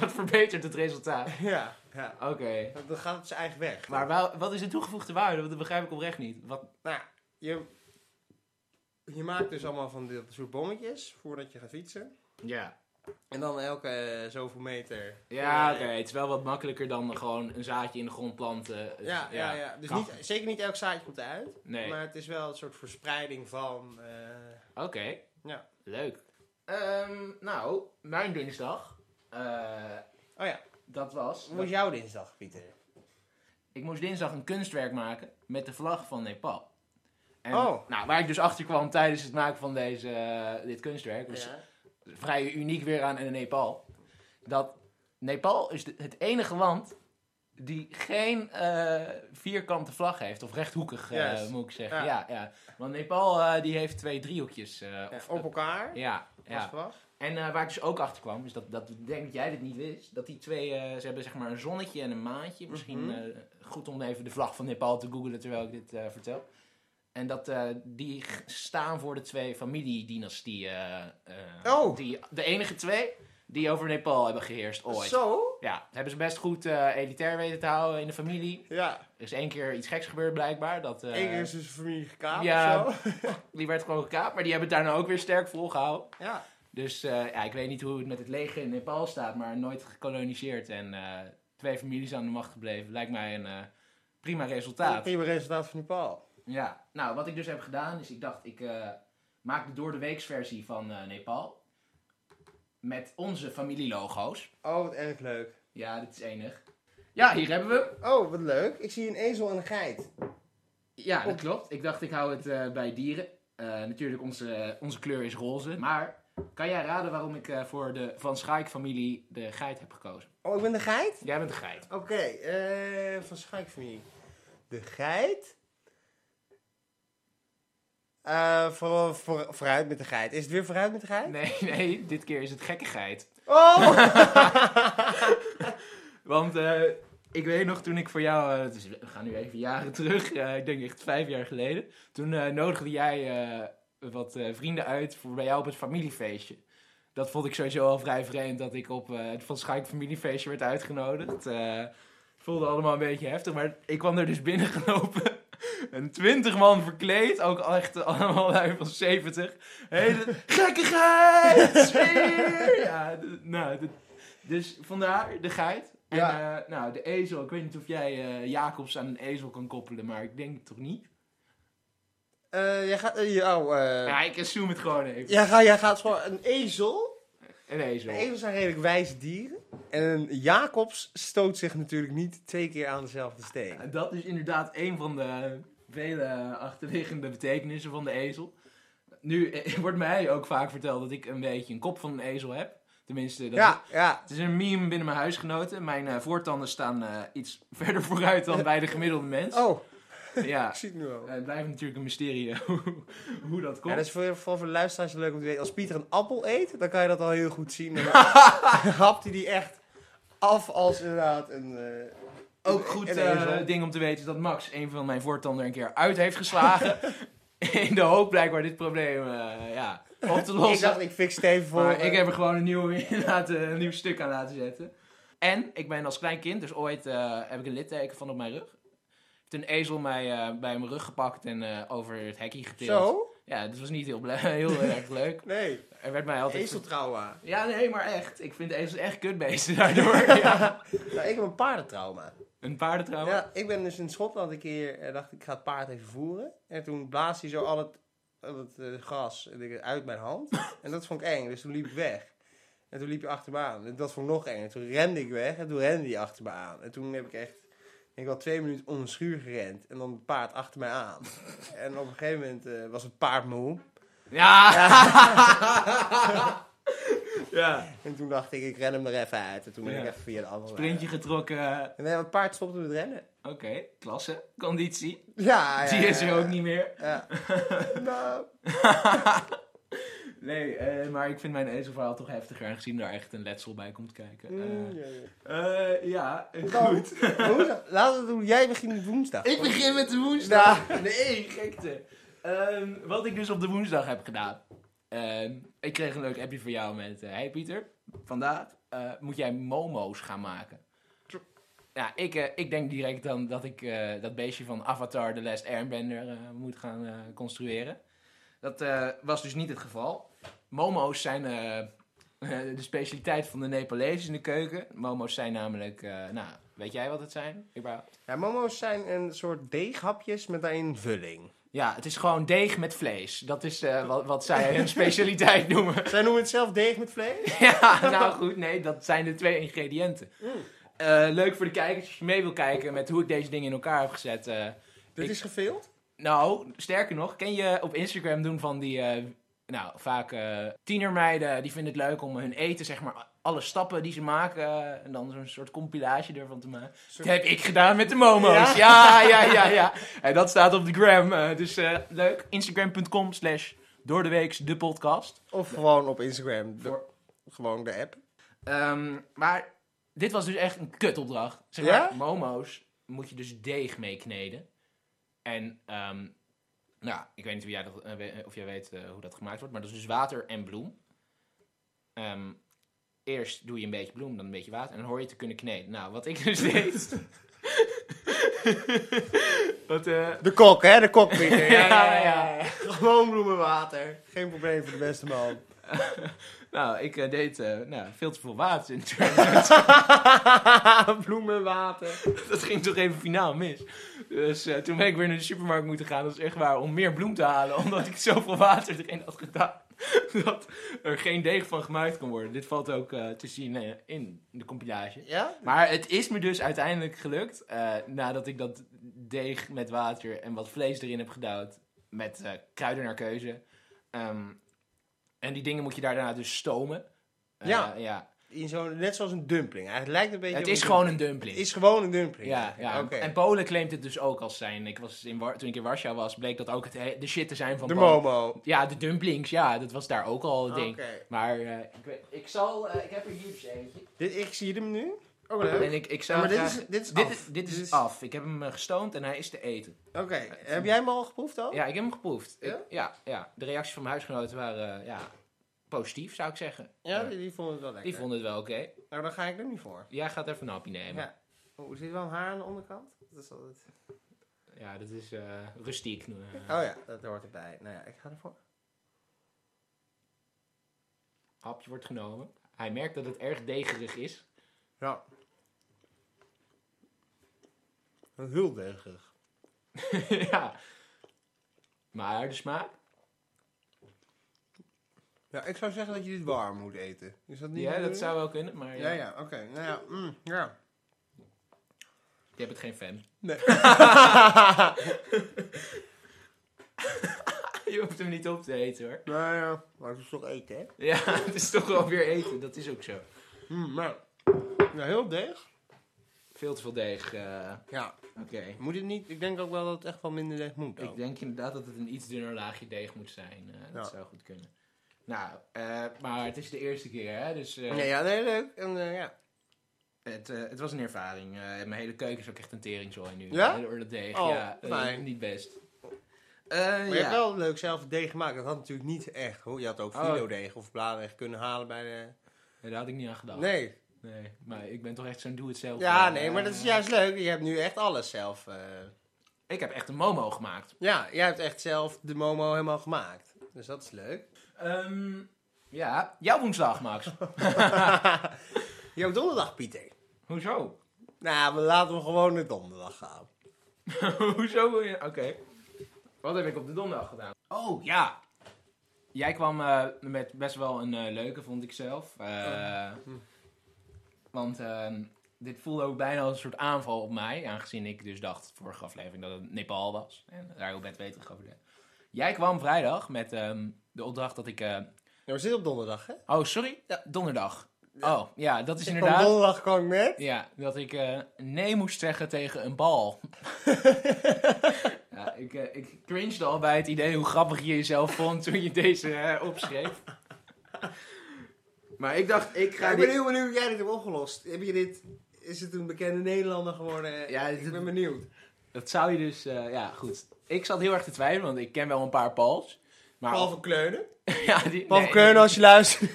[SPEAKER 3] dat verbetert het resultaat.
[SPEAKER 1] Ja, ja.
[SPEAKER 3] Oké.
[SPEAKER 1] Dan gaat het zijn eigen weg.
[SPEAKER 3] Maar wel- wat is de toegevoegde waarde? Want dat begrijp ik oprecht niet. Wat,
[SPEAKER 1] Nou, je, je maakt dus allemaal van dit soort bommetjes voordat je gaat fietsen.
[SPEAKER 3] ja.
[SPEAKER 1] En dan elke eh, zoveel meter.
[SPEAKER 3] Ja, oké. Het is wel wat makkelijker dan gewoon een zaadje in de grond planten. Dus,
[SPEAKER 1] Ja, ja, ja. Dus
[SPEAKER 3] kan.
[SPEAKER 1] niet, zeker niet elk zaadje komt uit.
[SPEAKER 3] Nee.
[SPEAKER 1] Maar het is wel een soort verspreiding van. eh,
[SPEAKER 3] Oké.
[SPEAKER 1] Ja.
[SPEAKER 3] Leuk. Ehm, nou, mijn dinsdag. eh,
[SPEAKER 1] Oh ja,
[SPEAKER 3] dat was.
[SPEAKER 1] hoe was jouw dinsdag, Pieter?
[SPEAKER 3] Ik moest dinsdag een kunstwerk maken met de vlag van Nepal. En,
[SPEAKER 1] Oh.
[SPEAKER 3] Nou, waar ik dus achter kwam tijdens het maken van deze, eh, dit kunstwerk,
[SPEAKER 1] Dus-
[SPEAKER 3] was vrij uniek weer aan Nepal. Dat Nepal is de- het enige land die geen eh, vierkante vlag heeft, of rechthoekig eh,
[SPEAKER 1] Juist.
[SPEAKER 3] moet ik zeggen. Ja.
[SPEAKER 1] Ja.
[SPEAKER 3] Ja, Want Nepal eh, die heeft twee driehoekjes. eh,
[SPEAKER 1] Ja,
[SPEAKER 3] of,
[SPEAKER 1] op elkaar.
[SPEAKER 3] ja,
[SPEAKER 1] Als
[SPEAKER 3] ja.
[SPEAKER 1] verwacht.
[SPEAKER 3] En eh, waar ik dus ook achter kwam, is dat, dat ik denk dat jij dit niet wist, dat die twee, eh, ze hebben zeg maar een zonnetje en een maantje. Misschien
[SPEAKER 1] Mhm.
[SPEAKER 3] eh, goed om even de vlag van Nepal te googlen terwijl ik dit eh, vertel. En dat eh, die g- staan voor de twee familiedynastieën. eh,
[SPEAKER 1] Oh.
[SPEAKER 3] Die, de enige twee die over Nepal hebben geheerst ooit.
[SPEAKER 1] Zo?
[SPEAKER 3] Ja, dat hebben ze best goed eh, elitair weten te houden in de familie.
[SPEAKER 1] Ja.
[SPEAKER 3] Er is één keer iets geks gebeurd blijkbaar. Dat, eh,
[SPEAKER 1] Eén keer is dus familie gekaapt
[SPEAKER 3] ja.
[SPEAKER 1] of zo.
[SPEAKER 3] Die werd gewoon gekaapt, maar die hebben het daarna ook weer sterk volgehouden.
[SPEAKER 1] Ja.
[SPEAKER 3] Dus eh, ja, ik weet niet hoe het met het leger in Nepal staat, maar nooit gekoloniseerd en eh, twee families aan de macht gebleven. Lijkt mij een eh, prima resultaat.
[SPEAKER 1] Prima resultaat van Nepal.
[SPEAKER 3] Ja, nou wat ik dus heb gedaan is, ik dacht ik eh, maak de door de weeks versie van eh, Nepal. Met onze familielogo's.
[SPEAKER 1] Oh, wat erg leuk.
[SPEAKER 3] Ja, dit is enig. Ja, hier hebben we hem.
[SPEAKER 1] Oh, wat leuk. Ik zie een ezel en een geit.
[SPEAKER 3] Ja, dat klopt. Ik dacht ik hou het eh, bij dieren. Eh, natuurlijk, onze, onze kleur is roze. Maar kan jij raden waarom ik eh, voor de Van Schaik familie de geit heb gekozen?
[SPEAKER 1] Oh, ik ben de geit?
[SPEAKER 3] Jij bent een geit.
[SPEAKER 1] Oké, eh, van Schaikfamilie. De geit? Eh, voor, voor, vooruit met de geit. Is het weer vooruit met de geit?
[SPEAKER 3] Nee, nee, dit keer is het gekkigheid.
[SPEAKER 1] Oh!
[SPEAKER 3] Want eh, ik weet nog toen ik voor jou, eh, het is- we gaan nu even jaren terug, eh, ik denk echt vijf jaar geleden. Toen eh, nodigde jij eh, wat eh, vrienden uit voor bij jou op het familiefeestje. Dat vond ik sowieso al vrij vreemd dat ik op eh, het Van Schaik familiefeestje werd uitgenodigd. Eh, het voelde allemaal een beetje heftig, maar ik kwam er dus binnengelopen. Een twintig man verkleed, ook echt allemaal lui van 70. Hele gekkigheid! sfeer! Ja, d- nou, d- dus vandaar de geit. En
[SPEAKER 1] Ja.
[SPEAKER 3] eh, nou, de ezel. Ik weet niet of jij eh, Jacobs aan een ezel kan koppelen, maar ik denk het toch niet.
[SPEAKER 1] Eh, jij gaat... eh, je- oh, eh,
[SPEAKER 3] Ja, ik assume het gewoon even.
[SPEAKER 1] jij, gaat, jij gaat gewoon... Een ezel?
[SPEAKER 3] Een ezel.
[SPEAKER 1] Ezels zijn redelijk wijze dieren. En een Jacobs stoot zich natuurlijk niet twee keer aan dezelfde steen.
[SPEAKER 3] En Dat is inderdaad een van de vele achterliggende betekenissen van de ezel. Nu eh, wordt mij ook vaak verteld dat ik een beetje een kop van een ezel heb. Tenminste, dat
[SPEAKER 1] Ja, ja.
[SPEAKER 3] het is een meme binnen mijn huisgenoten. Mijn eh, voortanden staan eh, iets verder vooruit dan bij de gemiddelde mens.
[SPEAKER 1] Oh,
[SPEAKER 3] Ja,
[SPEAKER 1] ik zie het nu al.
[SPEAKER 3] Eh, het blijft natuurlijk een mysterie eh, hoe, hoe dat komt.
[SPEAKER 1] Ja, dat is voor, voor, voor de luisteraars leuk om te weten. Als Pieter een appel eet, dan kan je dat al heel goed zien. Dan hapt hij die echt af als inderdaad een... eh,
[SPEAKER 3] Ook
[SPEAKER 1] een-
[SPEAKER 3] goed
[SPEAKER 1] een
[SPEAKER 3] eh,
[SPEAKER 1] ezel.
[SPEAKER 3] ding om te weten is dat Max een van mijn voortanden er een keer uit heeft geslagen. in de hoop blijkbaar dit probleem eh, ja, op te lossen.
[SPEAKER 1] ik dacht, ik fix het even voor...
[SPEAKER 3] Maar
[SPEAKER 1] eh,
[SPEAKER 3] ik heb er gewoon een nieuw, in laten, een nieuw stuk aan laten zetten. En ik ben als klein kind, dus ooit eh, heb ik een litteken van op mijn rug. Heeft een ezel mij eh, bij mijn rug gepakt en eh, over het hekje getild.
[SPEAKER 1] Zo?
[SPEAKER 3] Ja, dat was niet heel, ble- heel erg leuk.
[SPEAKER 1] Nee.
[SPEAKER 3] Er werd mij altijd...
[SPEAKER 1] Ezeltrauma.
[SPEAKER 3] Ja, nee, maar echt. Ik vind ezels echt kutbeesten daardoor. ja.
[SPEAKER 1] Nou, ik heb een paardentrauma.
[SPEAKER 3] Een paardentrauma.
[SPEAKER 1] Ja, ik ben dus in Schotland een keer... eh, dacht ik, ik ga het paard even voeren. En toen blaast hij zo al het, al het eh, gras eh, uit mijn hand. En dat vond ik eng, dus toen liep ik weg. En toen liep je achter me aan. En dat vond ik nog eng. En toen rende ik weg en toen rende hij achter me aan. En toen heb ik echt, denk ik wel twee minuten om een schuur gerend. En dan het paard achter mij aan. en op een gegeven moment eh, was het paard moe.
[SPEAKER 3] Ja!
[SPEAKER 4] Ja.
[SPEAKER 1] En toen dacht ik, ik ren hem er even uit. En toen ben ik
[SPEAKER 4] Ja.
[SPEAKER 1] even via de andere
[SPEAKER 3] Sprintje
[SPEAKER 1] weg.
[SPEAKER 3] getrokken.
[SPEAKER 1] En eh, het paard stopte met rennen.
[SPEAKER 3] Oké, klasse. Conditie.
[SPEAKER 1] Ah, Ja, ja,
[SPEAKER 3] Die is
[SPEAKER 1] ja,
[SPEAKER 3] er
[SPEAKER 1] ja.
[SPEAKER 3] ook niet meer.
[SPEAKER 1] Ja. nou,
[SPEAKER 3] Nee,
[SPEAKER 4] eh,
[SPEAKER 3] maar ik vind mijn ezelverhaal toch heftiger, aangezien daar echt een letsel bij komt kijken.
[SPEAKER 1] mm, ja, ja.
[SPEAKER 4] Eh, ja, eh,
[SPEAKER 1] Nou,
[SPEAKER 4] goed.
[SPEAKER 1] woensdag. Laten we doen. Jij begint met woensdag.
[SPEAKER 3] ik begin met de woensdag. Nou,
[SPEAKER 1] Ja.
[SPEAKER 3] Nee, gekte. Ehm, wat ik dus op de woensdag heb gedaan. Ehm, ik kreeg een leuk appje van jou met... eh, hey Pieter, vandaag eh, moet jij momo's gaan maken. Ja, ik, eh, ik denk direct dan dat ik eh, dat beestje van Avatar The Last Airbender eh, moet gaan eh, construeren. Dat eh, was dus niet het geval. Momo's zijn eh, de specialiteit van de Nepalezen in de keuken. Momo's zijn namelijk... eh, nou, weet jij wat het zijn? überhaupt?
[SPEAKER 1] Ja, momo's zijn een soort deeghapjes met daarin vulling.
[SPEAKER 3] Ja, het is gewoon deeg met vlees. Dat is eh, wat, wat zij hun specialiteit noemen.
[SPEAKER 1] Zij noemen het zelf deeg met vlees.
[SPEAKER 3] ja, nou goed, nee, dat zijn de twee ingrediënten. Eh, leuk voor de kijkers als je mee wil kijken met hoe ik deze dingen in elkaar heb gezet. eh.
[SPEAKER 1] Dit
[SPEAKER 3] Ik-
[SPEAKER 1] is gefilmd.
[SPEAKER 3] nou, sterker nog, ken je op Instagram doen van die, eh, nou vaak eh, tienermeiden, die vinden het leuk om hun eten, zeg maar, alle stappen die ze maken eh, en dan zo'n soort compilage ervan te maken. Dat heb ik gedaan met de momo's. Ja, ja, ja, ja. En dat staat op de gram. eh, dus eh, leuk. Instagram.com slash doordeweeks de podcast.
[SPEAKER 1] Of gewoon op Instagram. De-
[SPEAKER 3] Voor-
[SPEAKER 1] Gewoon de app.
[SPEAKER 3] Ehm, maar dit was dus echt een kutopdracht. Zeg maar,
[SPEAKER 1] Ja?
[SPEAKER 3] momo's moet je dus deeg mee kneden. En, ehm, nou, ik weet niet of jij, dat, eh, we- of jij weet eh, hoe dat gemaakt wordt, maar dat is dus water en bloem. Ehm, eerst doe je een beetje bloem, dan een beetje water, en dan hoor je te kunnen kneden. Nou, wat ik dus deed... wat, eh,
[SPEAKER 1] De kok, hè? De kok. Pieter.
[SPEAKER 3] Ja, ja, ja.
[SPEAKER 1] Gewoon bloemenwater. Geen probleem voor de beste man.
[SPEAKER 3] nou, ik eh, deed eh, nou, veel te veel water in
[SPEAKER 1] bloemenwater.
[SPEAKER 3] Dat ging toch even finaal mis. Dus eh, toen ben ik weer naar de supermarkt moeten gaan, dat is echt waar, om meer bloem te halen. Omdat ik zoveel water erin had gedaan, dat er geen deeg van gemaakt kon worden. Dit valt ook eh, te zien eh, in de compilage.
[SPEAKER 1] Ja?
[SPEAKER 3] Maar het is me dus uiteindelijk gelukt, eh, nadat ik dat deeg met water en wat vlees erin heb gedouwd, met eh, kruiden naar keuze. Ehm, en die dingen moet je daar daarna dus stomen. Eh,
[SPEAKER 1] Ja.
[SPEAKER 3] ja.
[SPEAKER 1] In zo'n, net zoals een dumpling. Eigenlijk lijkt het een beetje
[SPEAKER 3] Het
[SPEAKER 1] op
[SPEAKER 3] is
[SPEAKER 1] een
[SPEAKER 3] gewoon
[SPEAKER 1] dumpling.
[SPEAKER 3] een dumpling.
[SPEAKER 1] Het is gewoon een dumpling.
[SPEAKER 3] Ja, ja.
[SPEAKER 1] Oké.
[SPEAKER 3] en Polen claimt het dus ook als zijn. Ik was in War- toen ik in Warschau was, bleek dat ook het he- de shit te zijn van
[SPEAKER 1] De
[SPEAKER 3] Polen.
[SPEAKER 1] momo.
[SPEAKER 3] Ja, de dumplings, ja, dat was daar ook al het
[SPEAKER 1] Oké.
[SPEAKER 3] ding. Maar eh, ik, weet- ik zal, eh, ik heb er hier dus eentje.
[SPEAKER 1] Dit, ik zie hem nu. Oh,
[SPEAKER 3] En ik, ik zou
[SPEAKER 1] maar dit
[SPEAKER 3] graag-
[SPEAKER 1] is, dit is
[SPEAKER 3] dit,
[SPEAKER 1] af.
[SPEAKER 3] is, dit is af. Ik heb hem eh, gestoomd en hij is te eten.
[SPEAKER 1] Oké. Heb jij hem al geproefd al?
[SPEAKER 3] Ja, ik heb hem geproefd. Ik-
[SPEAKER 1] Oh. Ja?
[SPEAKER 3] ja, ja. De reacties van mijn huisgenoten waren eh, ja, positief, zou ik zeggen.
[SPEAKER 1] Ja,
[SPEAKER 3] Eh,
[SPEAKER 1] die, die vonden het wel lekker.
[SPEAKER 3] die vonden het wel oké.
[SPEAKER 1] Nou, dan ga ik er nu voor.
[SPEAKER 3] Jij gaat even een hapje nemen. Ja,
[SPEAKER 1] Ja. Oh, er zit wel een haar aan de onderkant. Dat is altijd...
[SPEAKER 3] dat is eh, rustiek. eh.
[SPEAKER 1] Oh ja, dat hoort erbij. Nou ja, ik ga ervoor.
[SPEAKER 3] hapje wordt genomen. Hij merkt dat het erg degerig is.
[SPEAKER 1] Ja. Heel deugig.
[SPEAKER 3] ja. Maar de smaak?
[SPEAKER 1] Ja, ik zou zeggen dat je dit warm moet eten. Is dat niet
[SPEAKER 3] Ja,
[SPEAKER 1] bedoeling?
[SPEAKER 3] dat zou wel kunnen, maar
[SPEAKER 1] Ja,
[SPEAKER 3] ja.
[SPEAKER 1] ja, oké. Nou ja, mm, ja.
[SPEAKER 3] je hebt het geen fan.
[SPEAKER 1] Nee.
[SPEAKER 3] Je hoeft hem niet op te eten hoor.
[SPEAKER 1] Nou ja, maar het is toch eten, hè?
[SPEAKER 3] Ja, het is toch wel weer eten, dat is ook zo.
[SPEAKER 1] Mm, maar... Ja, heel deeg.
[SPEAKER 3] Veel te veel deeg. eh,
[SPEAKER 1] Ja.
[SPEAKER 3] Oké.
[SPEAKER 1] Moet het niet... Ik denk ook wel dat het echt wel minder deeg moet.
[SPEAKER 3] Ik denk inderdaad dat het een iets dunner laagje deeg moet zijn. eh, dat
[SPEAKER 1] Ja.
[SPEAKER 3] zou goed kunnen. Nou, eh, maar het is de eerste keer hè, dus eh,
[SPEAKER 1] Ja, ja, nee, leuk. En, eh, ja.
[SPEAKER 3] het, eh, het was een ervaring. Eh, mijn hele keuken is ook echt een teringzooi nu.
[SPEAKER 1] Ja?
[SPEAKER 3] eh, Door dat deeg,
[SPEAKER 1] Oh,
[SPEAKER 3] ja. eh,
[SPEAKER 1] fijn.
[SPEAKER 3] niet best.
[SPEAKER 1] Maar
[SPEAKER 3] Eh
[SPEAKER 1] je hebt wel leuk zelf deeg gemaakt. Dat had natuurlijk niet echt... hoor. Je had ook
[SPEAKER 3] Oh.
[SPEAKER 1] filodeeg of bladerdeeg kunnen halen bij de...
[SPEAKER 3] Daar had ik niet aan gedacht.
[SPEAKER 1] Nee,
[SPEAKER 3] Nee, maar ik ben toch echt zo'n doe-het-zelf.
[SPEAKER 1] Ja,
[SPEAKER 3] eh,
[SPEAKER 1] nee, maar dat is
[SPEAKER 3] eh,
[SPEAKER 1] juist leuk. Je hebt nu echt alles zelf. eh.
[SPEAKER 3] Ik heb echt een momo gemaakt.
[SPEAKER 1] Ja, jij hebt echt zelf de Momo helemaal gemaakt. Dus dat is leuk.
[SPEAKER 3] Ehm, ja, jouw woensdag, Max.
[SPEAKER 1] Jouw donderdag, Pieter.
[SPEAKER 3] Hoezo?
[SPEAKER 1] Nou, we laten we gewoon naar donderdag gaan.
[SPEAKER 3] Hoezo wil je... Oké. Wat heb ik op de donderdag gedaan? Oh, ja. Jij kwam eh, met best wel een eh, leuke, vond ik zelf. Eh,
[SPEAKER 1] Hm.
[SPEAKER 3] Want ehm, dit voelde ook bijna als een soort aanval op mij. Aangezien ik dus dacht, vorige aflevering, dat het Nepal was. En daar heel bedweterig over deed. Jij kwam vrijdag met ehm, de opdracht dat ik... eh,
[SPEAKER 1] Ja, we zitten op donderdag, hè?
[SPEAKER 3] oh, sorry? donderdag. Oh, ja, dat is
[SPEAKER 1] Ik kwam
[SPEAKER 3] inderdaad...
[SPEAKER 1] donderdag kwam ik met.
[SPEAKER 3] Ja, dat ik eh, nee moest zeggen tegen een bal. ja, ik, eh, ik cringed al bij het idee hoe grappig je jezelf vond toen je deze eh, opschreef.
[SPEAKER 4] Maar ik dacht, ik
[SPEAKER 1] Ja,
[SPEAKER 4] ga
[SPEAKER 1] ik
[SPEAKER 4] die-
[SPEAKER 1] ben heel benieuwd hoe jij dit hebt opgelost. Heb je dit... Is het een bekende Nederlander geworden?
[SPEAKER 3] Ja,
[SPEAKER 1] ik
[SPEAKER 3] dit-
[SPEAKER 1] ben benieuwd.
[SPEAKER 3] Dat zou je dus, eh, ja goed. Ik zat heel erg te twijfelen, want ik ken wel een paar pals. Maar
[SPEAKER 1] Paul van Kleunen.
[SPEAKER 3] ja, die,
[SPEAKER 1] Paul
[SPEAKER 3] nee,
[SPEAKER 1] van Kleunen, als je luistert.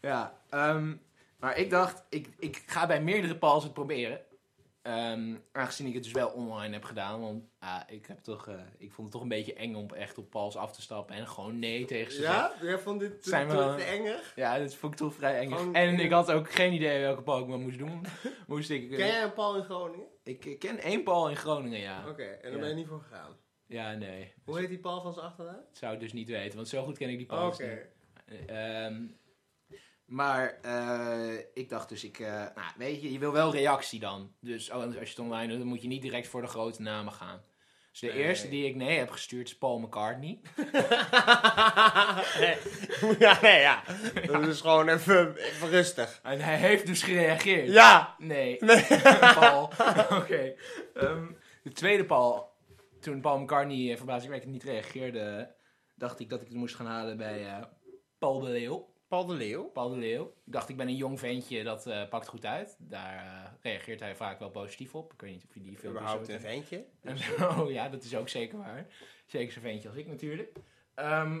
[SPEAKER 3] Ja, ehm, maar ik dacht, ik, ik ga bij meerdere pals het proberen. Ehm, aangezien ik het dus wel online heb gedaan, want ah, ik, heb toch, eh, ik vond het toch een beetje eng om echt op pals af te stappen en gewoon nee tegen ze te zeggen.
[SPEAKER 1] Ja? Jij vond dit te,
[SPEAKER 3] Zijn we
[SPEAKER 1] te,
[SPEAKER 3] wel-
[SPEAKER 1] te enger?
[SPEAKER 3] Ja, dat vond ik toch vrij eng.
[SPEAKER 1] Gewoon-
[SPEAKER 3] en ik had ook geen idee welke pal ik maar moest doen. Moest ik, eh,
[SPEAKER 1] Ken jij een Paul in Groningen?
[SPEAKER 3] ik eh, ken één pal in Groningen, ja.
[SPEAKER 1] Oké, en daar
[SPEAKER 3] Ja.
[SPEAKER 1] ben je niet voor gegaan.
[SPEAKER 3] Ja, nee.
[SPEAKER 1] Hoe heet die Paul van zijn achternaam?
[SPEAKER 3] Dat zou ik dus niet weten, want zo goed ken ik die
[SPEAKER 1] Oké.
[SPEAKER 3] pal dus niet. Ehm, maar eh, ik dacht dus, ik, eh, nou, weet je, je wil wel reactie dan. Dus oh, als je het online doet, dan moet je niet direct voor de grote namen gaan. Dus de
[SPEAKER 1] Nee.
[SPEAKER 3] eerste die ik nee heb gestuurd is Paul McCartney.
[SPEAKER 1] ja, nee, ja. Dat is gewoon even, even rustig.
[SPEAKER 3] En hij heeft dus gereageerd.
[SPEAKER 1] Ja!
[SPEAKER 3] Nee.
[SPEAKER 1] Nee.
[SPEAKER 3] Paul. Oké. Ehm, de tweede Paul. Toen Paul McCartney eh, verbazingwekkend niet reageerde, dacht ik dat ik het moest gaan halen bij eh, Paul de Leeuw.
[SPEAKER 1] Paul de Leeuw.
[SPEAKER 3] Paul de Leeuw. Ik dacht, ik ben een jong ventje, dat eh, pakt goed uit. Daar eh, reageert hij vaak wel positief op. Ik weet niet of je die film
[SPEAKER 1] Überhaupt een ventje.
[SPEAKER 3] Oh ja, dat is ook zeker waar. Zeker zo'n ventje als ik natuurlijk. Ehm,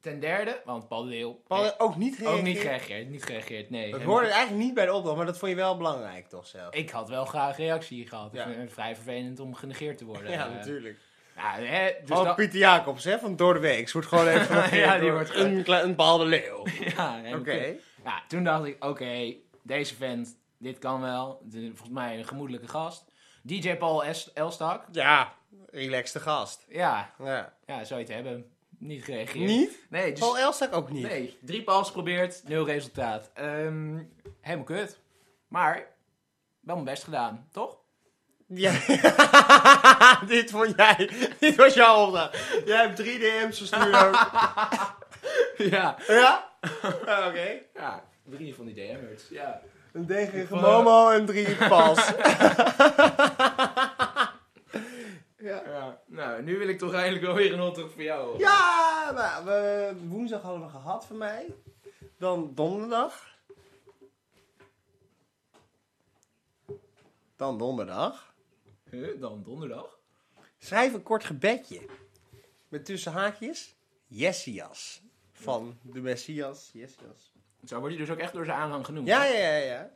[SPEAKER 3] ten derde, want Paul de Leeuw...
[SPEAKER 1] Paul
[SPEAKER 3] heeft
[SPEAKER 1] heeft ook niet gereageerd.
[SPEAKER 3] ook niet gereageerd, niet gereageerd, nee.
[SPEAKER 1] Dat
[SPEAKER 3] Helemaal-
[SPEAKER 1] hoorde eigenlijk niet bij de opdracht, maar dat vond je wel belangrijk toch zelf?
[SPEAKER 3] ik had wel graag reactie gehad.
[SPEAKER 1] Ja.
[SPEAKER 3] Ik vind het vrij vervelend om genegeerd te worden.
[SPEAKER 1] Ja,
[SPEAKER 3] Eh,
[SPEAKER 1] natuurlijk.
[SPEAKER 3] ja, hè, dus
[SPEAKER 1] oh,
[SPEAKER 3] dat-
[SPEAKER 1] Pieter Jacobs, hè, van Door de Weeks. Wordt gewoon even genegeerd
[SPEAKER 3] Ja, die
[SPEAKER 1] door
[SPEAKER 3] wordt gewoon-
[SPEAKER 1] een, kle- een Paul de Leeuw.
[SPEAKER 3] ja, en-
[SPEAKER 1] Oké.
[SPEAKER 3] ja, toen dacht ik, oké, deze vent, dit kan wel. De- Volgens mij een gemoedelijke gast. DJ Paul Es- Elstak.
[SPEAKER 1] Ja, relaxte gast.
[SPEAKER 3] Ja,
[SPEAKER 1] Ja.
[SPEAKER 3] ja, zou je het hebben. Niet gereageerd.
[SPEAKER 1] Niet?
[SPEAKER 3] Nee, dus,
[SPEAKER 1] Paul Elstak ook niet.
[SPEAKER 3] nee, drie pals geprobeerd, nul resultaat. Ehm, helemaal kut. Maar, wel mijn best gedaan, toch?
[SPEAKER 1] Ja. dit vond jij. Dit was jouw opdracht. Jij hebt drie DM's verstuurd. ook.
[SPEAKER 3] ja.
[SPEAKER 1] ja? Ah, Oké.
[SPEAKER 3] ja, drie van die DM'ers. Ja.
[SPEAKER 1] Een degelijke
[SPEAKER 3] Ik, eh,
[SPEAKER 1] Momo en drie pas.
[SPEAKER 3] ja. Nou, nu wil ik toch eindelijk wel weer een hotdog voor jou. hoor.
[SPEAKER 1] ja, nou, we, woensdag hadden we gehad van mij. Dan donderdag. Dan donderdag.
[SPEAKER 3] Huh, dan donderdag.
[SPEAKER 1] Schrijf een kort gebedje. Met tussen haakjes. Jessias. Van de Messias. Jessias.
[SPEAKER 3] Zo wordt hij dus ook echt door zijn aanhang genoemd.
[SPEAKER 1] Ja,
[SPEAKER 3] hè?
[SPEAKER 1] ja, ja, ja.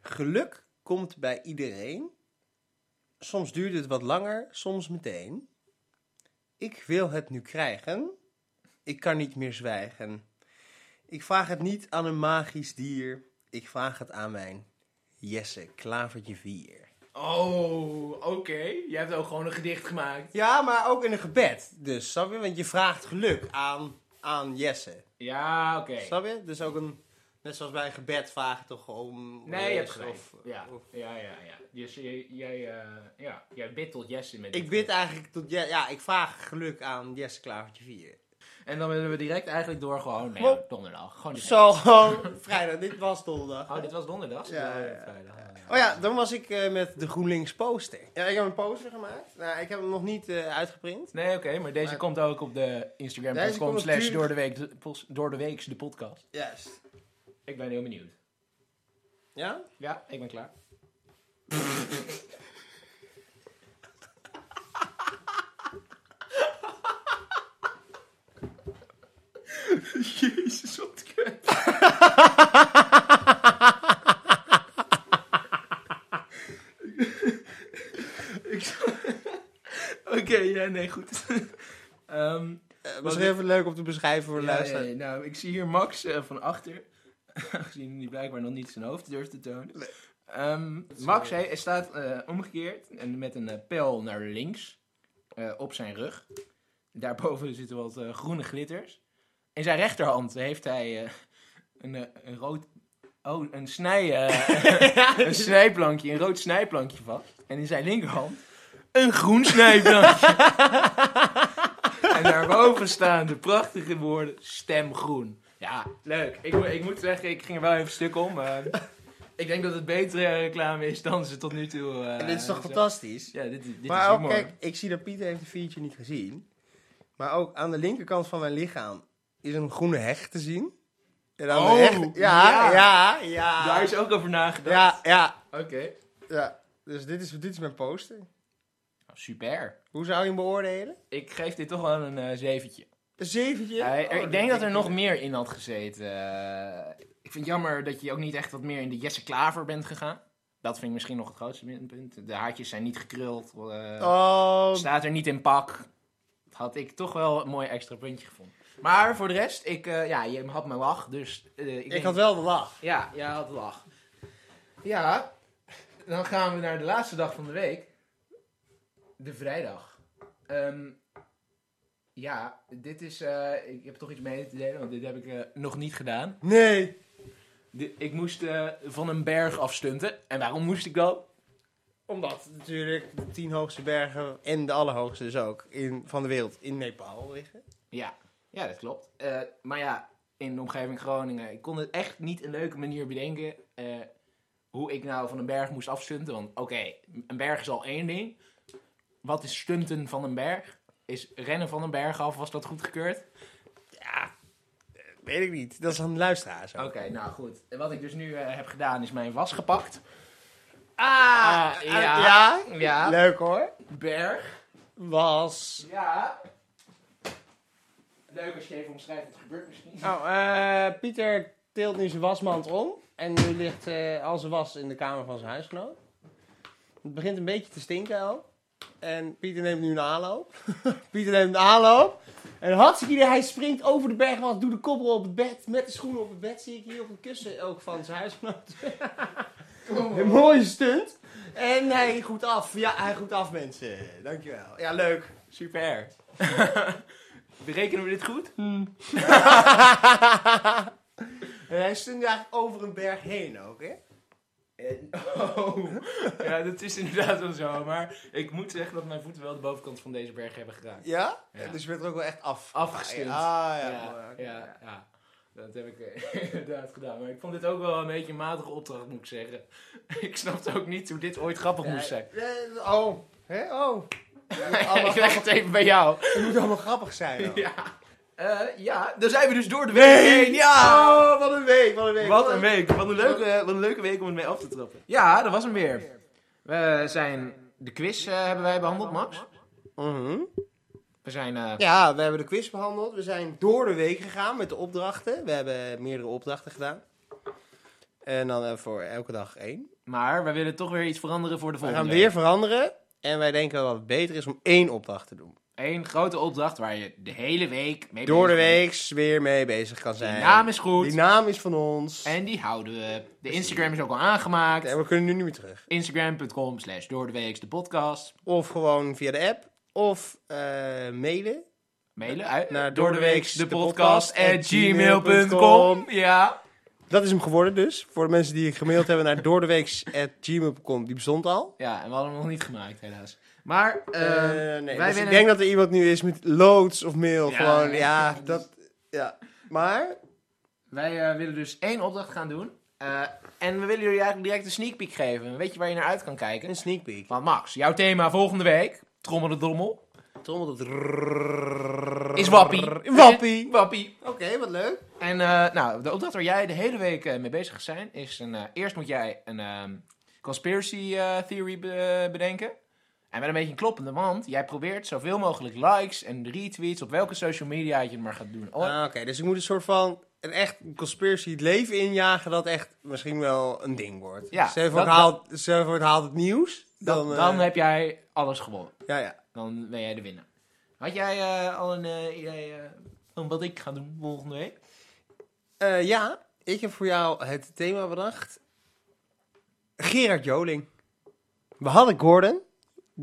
[SPEAKER 1] Geluk komt bij iedereen. Soms duurt het wat langer, soms meteen. Ik wil het nu krijgen. Ik kan niet meer zwijgen. Ik vraag het niet aan een magisch dier. Ik vraag het aan mijn Jesse Klavertje 4.
[SPEAKER 3] Oh, oké. Jij hebt ook gewoon een gedicht gemaakt.
[SPEAKER 1] Ja, maar ook in een gebed. Dus, snap je? Want je vraagt geluk aan, aan Jesse.
[SPEAKER 3] Ja, oké.
[SPEAKER 1] Snap je? Dus ook een... Net zoals bij een gebed vragen toch om...
[SPEAKER 3] Nee, je hebt
[SPEAKER 1] rust
[SPEAKER 3] gelijk.
[SPEAKER 1] of-
[SPEAKER 3] Ja,
[SPEAKER 1] of-
[SPEAKER 3] ja, ja. ja. Dus jij, jij, eh, ja. jij bidt tot Jesse met
[SPEAKER 1] Ik
[SPEAKER 3] dit.
[SPEAKER 1] bid eigenlijk tot... Ja, ja, ik vraag geluk aan Jesse Klavertje 4.
[SPEAKER 3] En dan willen we direct eigenlijk door gewoon... Nee,
[SPEAKER 1] Hop.
[SPEAKER 3] donderdag. Gewoon direct.
[SPEAKER 1] Zo, gewoon vrijdag. Dit was donderdag.
[SPEAKER 3] Oh, dit was donderdag?
[SPEAKER 1] Ja,
[SPEAKER 3] Oh,
[SPEAKER 1] ja, ja.
[SPEAKER 3] vrijdag.
[SPEAKER 1] Oh ja, dan was ik eh, met de GroenLinks poster. Ja, ik heb een poster gemaakt. Nou, ik heb hem nog niet eh, uitgeprint.
[SPEAKER 3] Nee, oké, maar deze
[SPEAKER 1] Maar-
[SPEAKER 3] komt ook op de
[SPEAKER 1] Deze
[SPEAKER 3] Instagram.com
[SPEAKER 1] komt
[SPEAKER 3] slash
[SPEAKER 1] natuurlijk-
[SPEAKER 3] door de week de- pos- door de weeks de podcast.
[SPEAKER 1] Juist.
[SPEAKER 3] Ik ben heel benieuwd.
[SPEAKER 1] Ja?
[SPEAKER 3] Ja, ik ben klaar. Jezus, wat kut. Oké, ja, nee, goed. Ehm
[SPEAKER 1] Eh,
[SPEAKER 3] Wat-
[SPEAKER 1] was even leuk om te beschrijven voor de
[SPEAKER 3] ja,
[SPEAKER 1] luisteraar.
[SPEAKER 3] ja, ja. nou, ik zie hier Max eh, van achter. Aangezien hij blijkbaar nog niet zijn hoofd durft te tonen. Ehm, Max hij, hij staat eh, omgekeerd en met een eh, pijl naar links eh, op zijn rug. Daarboven zitten wat eh, groene glitters. In zijn rechterhand heeft hij eh, een, eh, een rood... Oh, een, snij, eh, een snijplankje, een rood snijplankje vast. En in zijn linkerhand een groen snijplankje. en daarboven staan de prachtige woorden stemgroen. Ja, leuk. Ik, mo- ik moet zeggen, ik ging er wel even stuk om. eh. ik denk dat het betere reclame is dan ze tot nu toe... eh,
[SPEAKER 1] En dit is toch
[SPEAKER 3] zo-
[SPEAKER 1] fantastisch?
[SPEAKER 3] Ja, dit, dit is
[SPEAKER 1] maar ook,
[SPEAKER 3] humor.
[SPEAKER 1] kijk, ik zie dat Pieter heeft een viertje niet gezien. Maar ook aan de linkerkant van mijn lichaam is een groene hecht te zien. En aan de
[SPEAKER 3] Oh,
[SPEAKER 1] hecht- ja, ja,
[SPEAKER 3] ja.
[SPEAKER 1] ja.
[SPEAKER 3] Daar is ook over nagedacht.
[SPEAKER 1] Ja, ja,
[SPEAKER 3] Oké.
[SPEAKER 1] ja. Dus dit is, dit is mijn poster.
[SPEAKER 3] Super.
[SPEAKER 1] Hoe zou je hem beoordelen?
[SPEAKER 3] Ik geef dit toch wel een eh, zeventje.
[SPEAKER 1] Een zeventje?
[SPEAKER 3] Hij-
[SPEAKER 1] Oh,
[SPEAKER 3] er- ik denk dat er
[SPEAKER 1] ik
[SPEAKER 3] nog
[SPEAKER 1] niet.
[SPEAKER 3] meer in had gezeten. Eh, ik vind het jammer dat je ook niet echt wat meer in de Jesse Klaver bent gegaan. Dat vind ik misschien nog het grootste minpunt. De haartjes zijn niet gekruld. eh,
[SPEAKER 1] Oh,
[SPEAKER 3] Staat er niet in pak. Dat had ik toch wel een mooi extra puntje gevonden. Maar voor de rest, ik, eh, ja, je had mijn lach. Dus eh, ik,
[SPEAKER 1] ik
[SPEAKER 3] denk-
[SPEAKER 1] had wel de lach.
[SPEAKER 3] Ja, jij had lach. Ja, dan gaan we naar de laatste dag van de week. De vrijdag. Ehm, ja, dit is... eh, ik heb toch iets mee te delen, want dit heb ik eh, nog niet gedaan.
[SPEAKER 1] Nee.
[SPEAKER 3] Di- ik moest eh, van een berg afstunten. En waarom moest ik dat?
[SPEAKER 1] Omdat natuurlijk de tien hoogste bergen en de allerhoogste dus ook in, van de wereld in Nepal liggen.
[SPEAKER 3] Ja, ja dat klopt. Eh, maar ja, in de omgeving Groningen. Ik kon het echt niet een leuke manier bedenken. eh, hoe ik nou van een berg moest afstunten. Want oké, een berg is al één ding. Wat is stunten van een berg? Is rennen van een berg af, was dat goedgekeurd?
[SPEAKER 1] Ja, eh, weet ik niet. Dat is aan de luisteraar zo.
[SPEAKER 3] Oké, nou goed. En Wat ik dus nu eh, heb gedaan is mijn was gepakt.
[SPEAKER 1] Ah,
[SPEAKER 3] Ah,
[SPEAKER 1] ja.
[SPEAKER 3] ja.
[SPEAKER 1] ja.
[SPEAKER 3] Ja,
[SPEAKER 1] Leuk hoor.
[SPEAKER 3] berg.
[SPEAKER 1] Was.
[SPEAKER 3] Ja. Leuk als je even omschrijft wat er gebeurt misschien.
[SPEAKER 1] Nou, eh, Pieter tilt nu zijn wasmand om. En nu ligt eh, al zijn was in de kamer van zijn huisgenoot. Het begint een beetje te stinken al. En Pieter neemt nu een aanloop. Pieter neemt een aanloop. En hartstikke hij springt over de bergwand, doet de koppel op het bed. Met de schoenen op het bed zie ik hier op een kussen ook van zijn huisgenoot. een mooie stunt. En hij goed af. Ja, hij goed af mensen. Dankjewel. Ja, leuk.
[SPEAKER 3] Super. Berekenen we dit goed?
[SPEAKER 1] En hij stond eigenlijk over een berg heen ook, hè?
[SPEAKER 3] Oh, ja, dat is inderdaad wel zo. Maar ik moet zeggen dat mijn voeten wel de bovenkant van deze berg hebben geraakt.
[SPEAKER 1] Ja?
[SPEAKER 3] Ja.
[SPEAKER 1] Dus je bent er ook wel echt af.
[SPEAKER 3] Afgestuurd.
[SPEAKER 1] Ah, ja.
[SPEAKER 3] ja, ja, ja. Dat heb ik eh, inderdaad gedaan. Maar ik vond dit ook wel een beetje een matige opdracht, moet ik zeggen. ik snapte ook niet hoe dit ooit grappig moest zijn.
[SPEAKER 1] Eh, Oh. Hè? Oh.
[SPEAKER 3] ik leg het even bij jou.
[SPEAKER 1] Het moet allemaal grappig zijn. hoor.
[SPEAKER 3] ja. Eh, ja, dan zijn we dus door de week heen. Ja!
[SPEAKER 1] Oh, wat een week, wat een week.
[SPEAKER 3] Wat een week. Wat een, leuke, wat een leuke week om het mee af te trappen. Ja, dat was hem weer. We zijn... De quiz eh, hebben wij behandeld, Max.
[SPEAKER 1] Mhm.
[SPEAKER 3] We zijn... eh,
[SPEAKER 1] Ja, we hebben de quiz behandeld. We zijn door de week gegaan met de opdrachten. We hebben meerdere opdrachten gedaan. En dan eh, voor elke dag één.
[SPEAKER 3] Maar we willen toch weer iets veranderen voor de
[SPEAKER 1] We
[SPEAKER 3] volgende.
[SPEAKER 1] gaan weer veranderen. En wij denken dat het beter is om één opdracht te doen.
[SPEAKER 3] Eén grote opdracht waar je de hele week mee
[SPEAKER 1] Door de
[SPEAKER 3] bezig bent.
[SPEAKER 1] week weer mee bezig kan zijn.
[SPEAKER 3] Die naam is goed.
[SPEAKER 1] Die naam is van ons.
[SPEAKER 3] En die houden we. De Instagram is ook al aangemaakt.
[SPEAKER 1] En we kunnen nu niet meer terug.
[SPEAKER 3] Instagram.com slash door de weeks de podcast.
[SPEAKER 1] Of gewoon via de app. Of eh, mailen.
[SPEAKER 3] Mailen uit
[SPEAKER 1] Naar
[SPEAKER 3] de
[SPEAKER 1] doordeweeksdepodcast
[SPEAKER 3] podcast at
[SPEAKER 1] gmail.com.
[SPEAKER 3] gmail.com. Ja.
[SPEAKER 1] Dat is hem geworden dus. Voor de mensen die gemaild hebben naar doordeweeks.gmail.com. Die bestond al.
[SPEAKER 3] ja, en we hadden hem nog niet gemaakt helaas. Maar eh,
[SPEAKER 1] Eh, nee, dus
[SPEAKER 3] wij
[SPEAKER 1] ik
[SPEAKER 3] willen-
[SPEAKER 1] denk dat er iemand nu is met loads of mail.
[SPEAKER 3] Ja.
[SPEAKER 1] Gewoon, ja, dat... Ja. Maar...
[SPEAKER 3] wij eh, willen dus één opdracht gaan doen. Eh, en we willen jullie eigenlijk direct een sneak peek geven. Weet je waar je naar uit kan kijken?
[SPEAKER 1] Een sneak peek.
[SPEAKER 3] Want Max, jouw thema volgende week, trommel de drommel,
[SPEAKER 1] Trommel dat...
[SPEAKER 3] is wappie. Eh,
[SPEAKER 1] Wappie.
[SPEAKER 3] Wappie.
[SPEAKER 1] Oké, wat leuk.
[SPEAKER 3] En eh, nou, de opdracht waar jij de hele week eh, mee bezig gaat zijn is... Een, eh, eerst moet jij een ehm, conspiracy eh, theory be- bedenken. En met een beetje een kloppende, want jij probeert zoveel mogelijk likes en retweets... op welke social media je het maar gaat doen. Oh,
[SPEAKER 1] Ah, Oké, dus ik moet een soort van... Een echt conspiracy het leven injagen dat echt misschien wel een ding wordt.
[SPEAKER 3] Ja,
[SPEAKER 1] Stel je voor,
[SPEAKER 3] dat-
[SPEAKER 1] het haalt, stel je voor het haalt het nieuws.
[SPEAKER 3] dan,
[SPEAKER 1] Dan, eh,
[SPEAKER 3] dan heb jij alles gewonnen.
[SPEAKER 1] Ja, ja.
[SPEAKER 3] Dan ben jij de winnaar. Had jij eh, al een eh, idee eh, van wat ik ga doen volgende week?
[SPEAKER 1] Eh, ja, ik heb voor jou het thema bedacht. Gerard Joling. We hadden Gordon.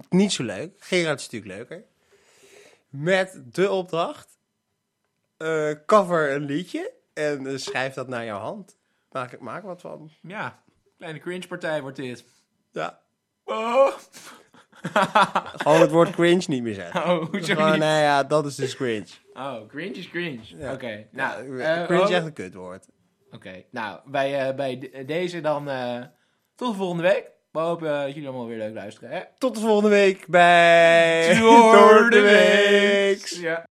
[SPEAKER 1] Niet zo leuk. Gerard is natuurlijk leuker. met de opdracht: eh, cover een liedje en eh, schrijf dat naar jouw hand. Maak, maak wat van.
[SPEAKER 3] Ja, kleine cringe partij wordt dit.
[SPEAKER 1] Ja.
[SPEAKER 3] Oh,
[SPEAKER 1] Gewoon het woord cringe niet meer zeggen.
[SPEAKER 3] oh hoezo
[SPEAKER 1] Gewoon,
[SPEAKER 3] niet?
[SPEAKER 1] nou ja, dat is dus cringe.
[SPEAKER 3] Oh, cringe is cringe.
[SPEAKER 1] Ja.
[SPEAKER 3] Oké, nou,
[SPEAKER 1] Ja,
[SPEAKER 3] eh,
[SPEAKER 1] cringe
[SPEAKER 3] oh,
[SPEAKER 1] is echt een kutwoord.
[SPEAKER 3] Oké, nou, bij, eh, bij de- deze dan eh, tot de volgende week. We hopen eh, dat jullie allemaal weer leuk luisteren, hè?
[SPEAKER 1] Tot de volgende week bij
[SPEAKER 3] Door de
[SPEAKER 1] Weeks.
[SPEAKER 3] Ja.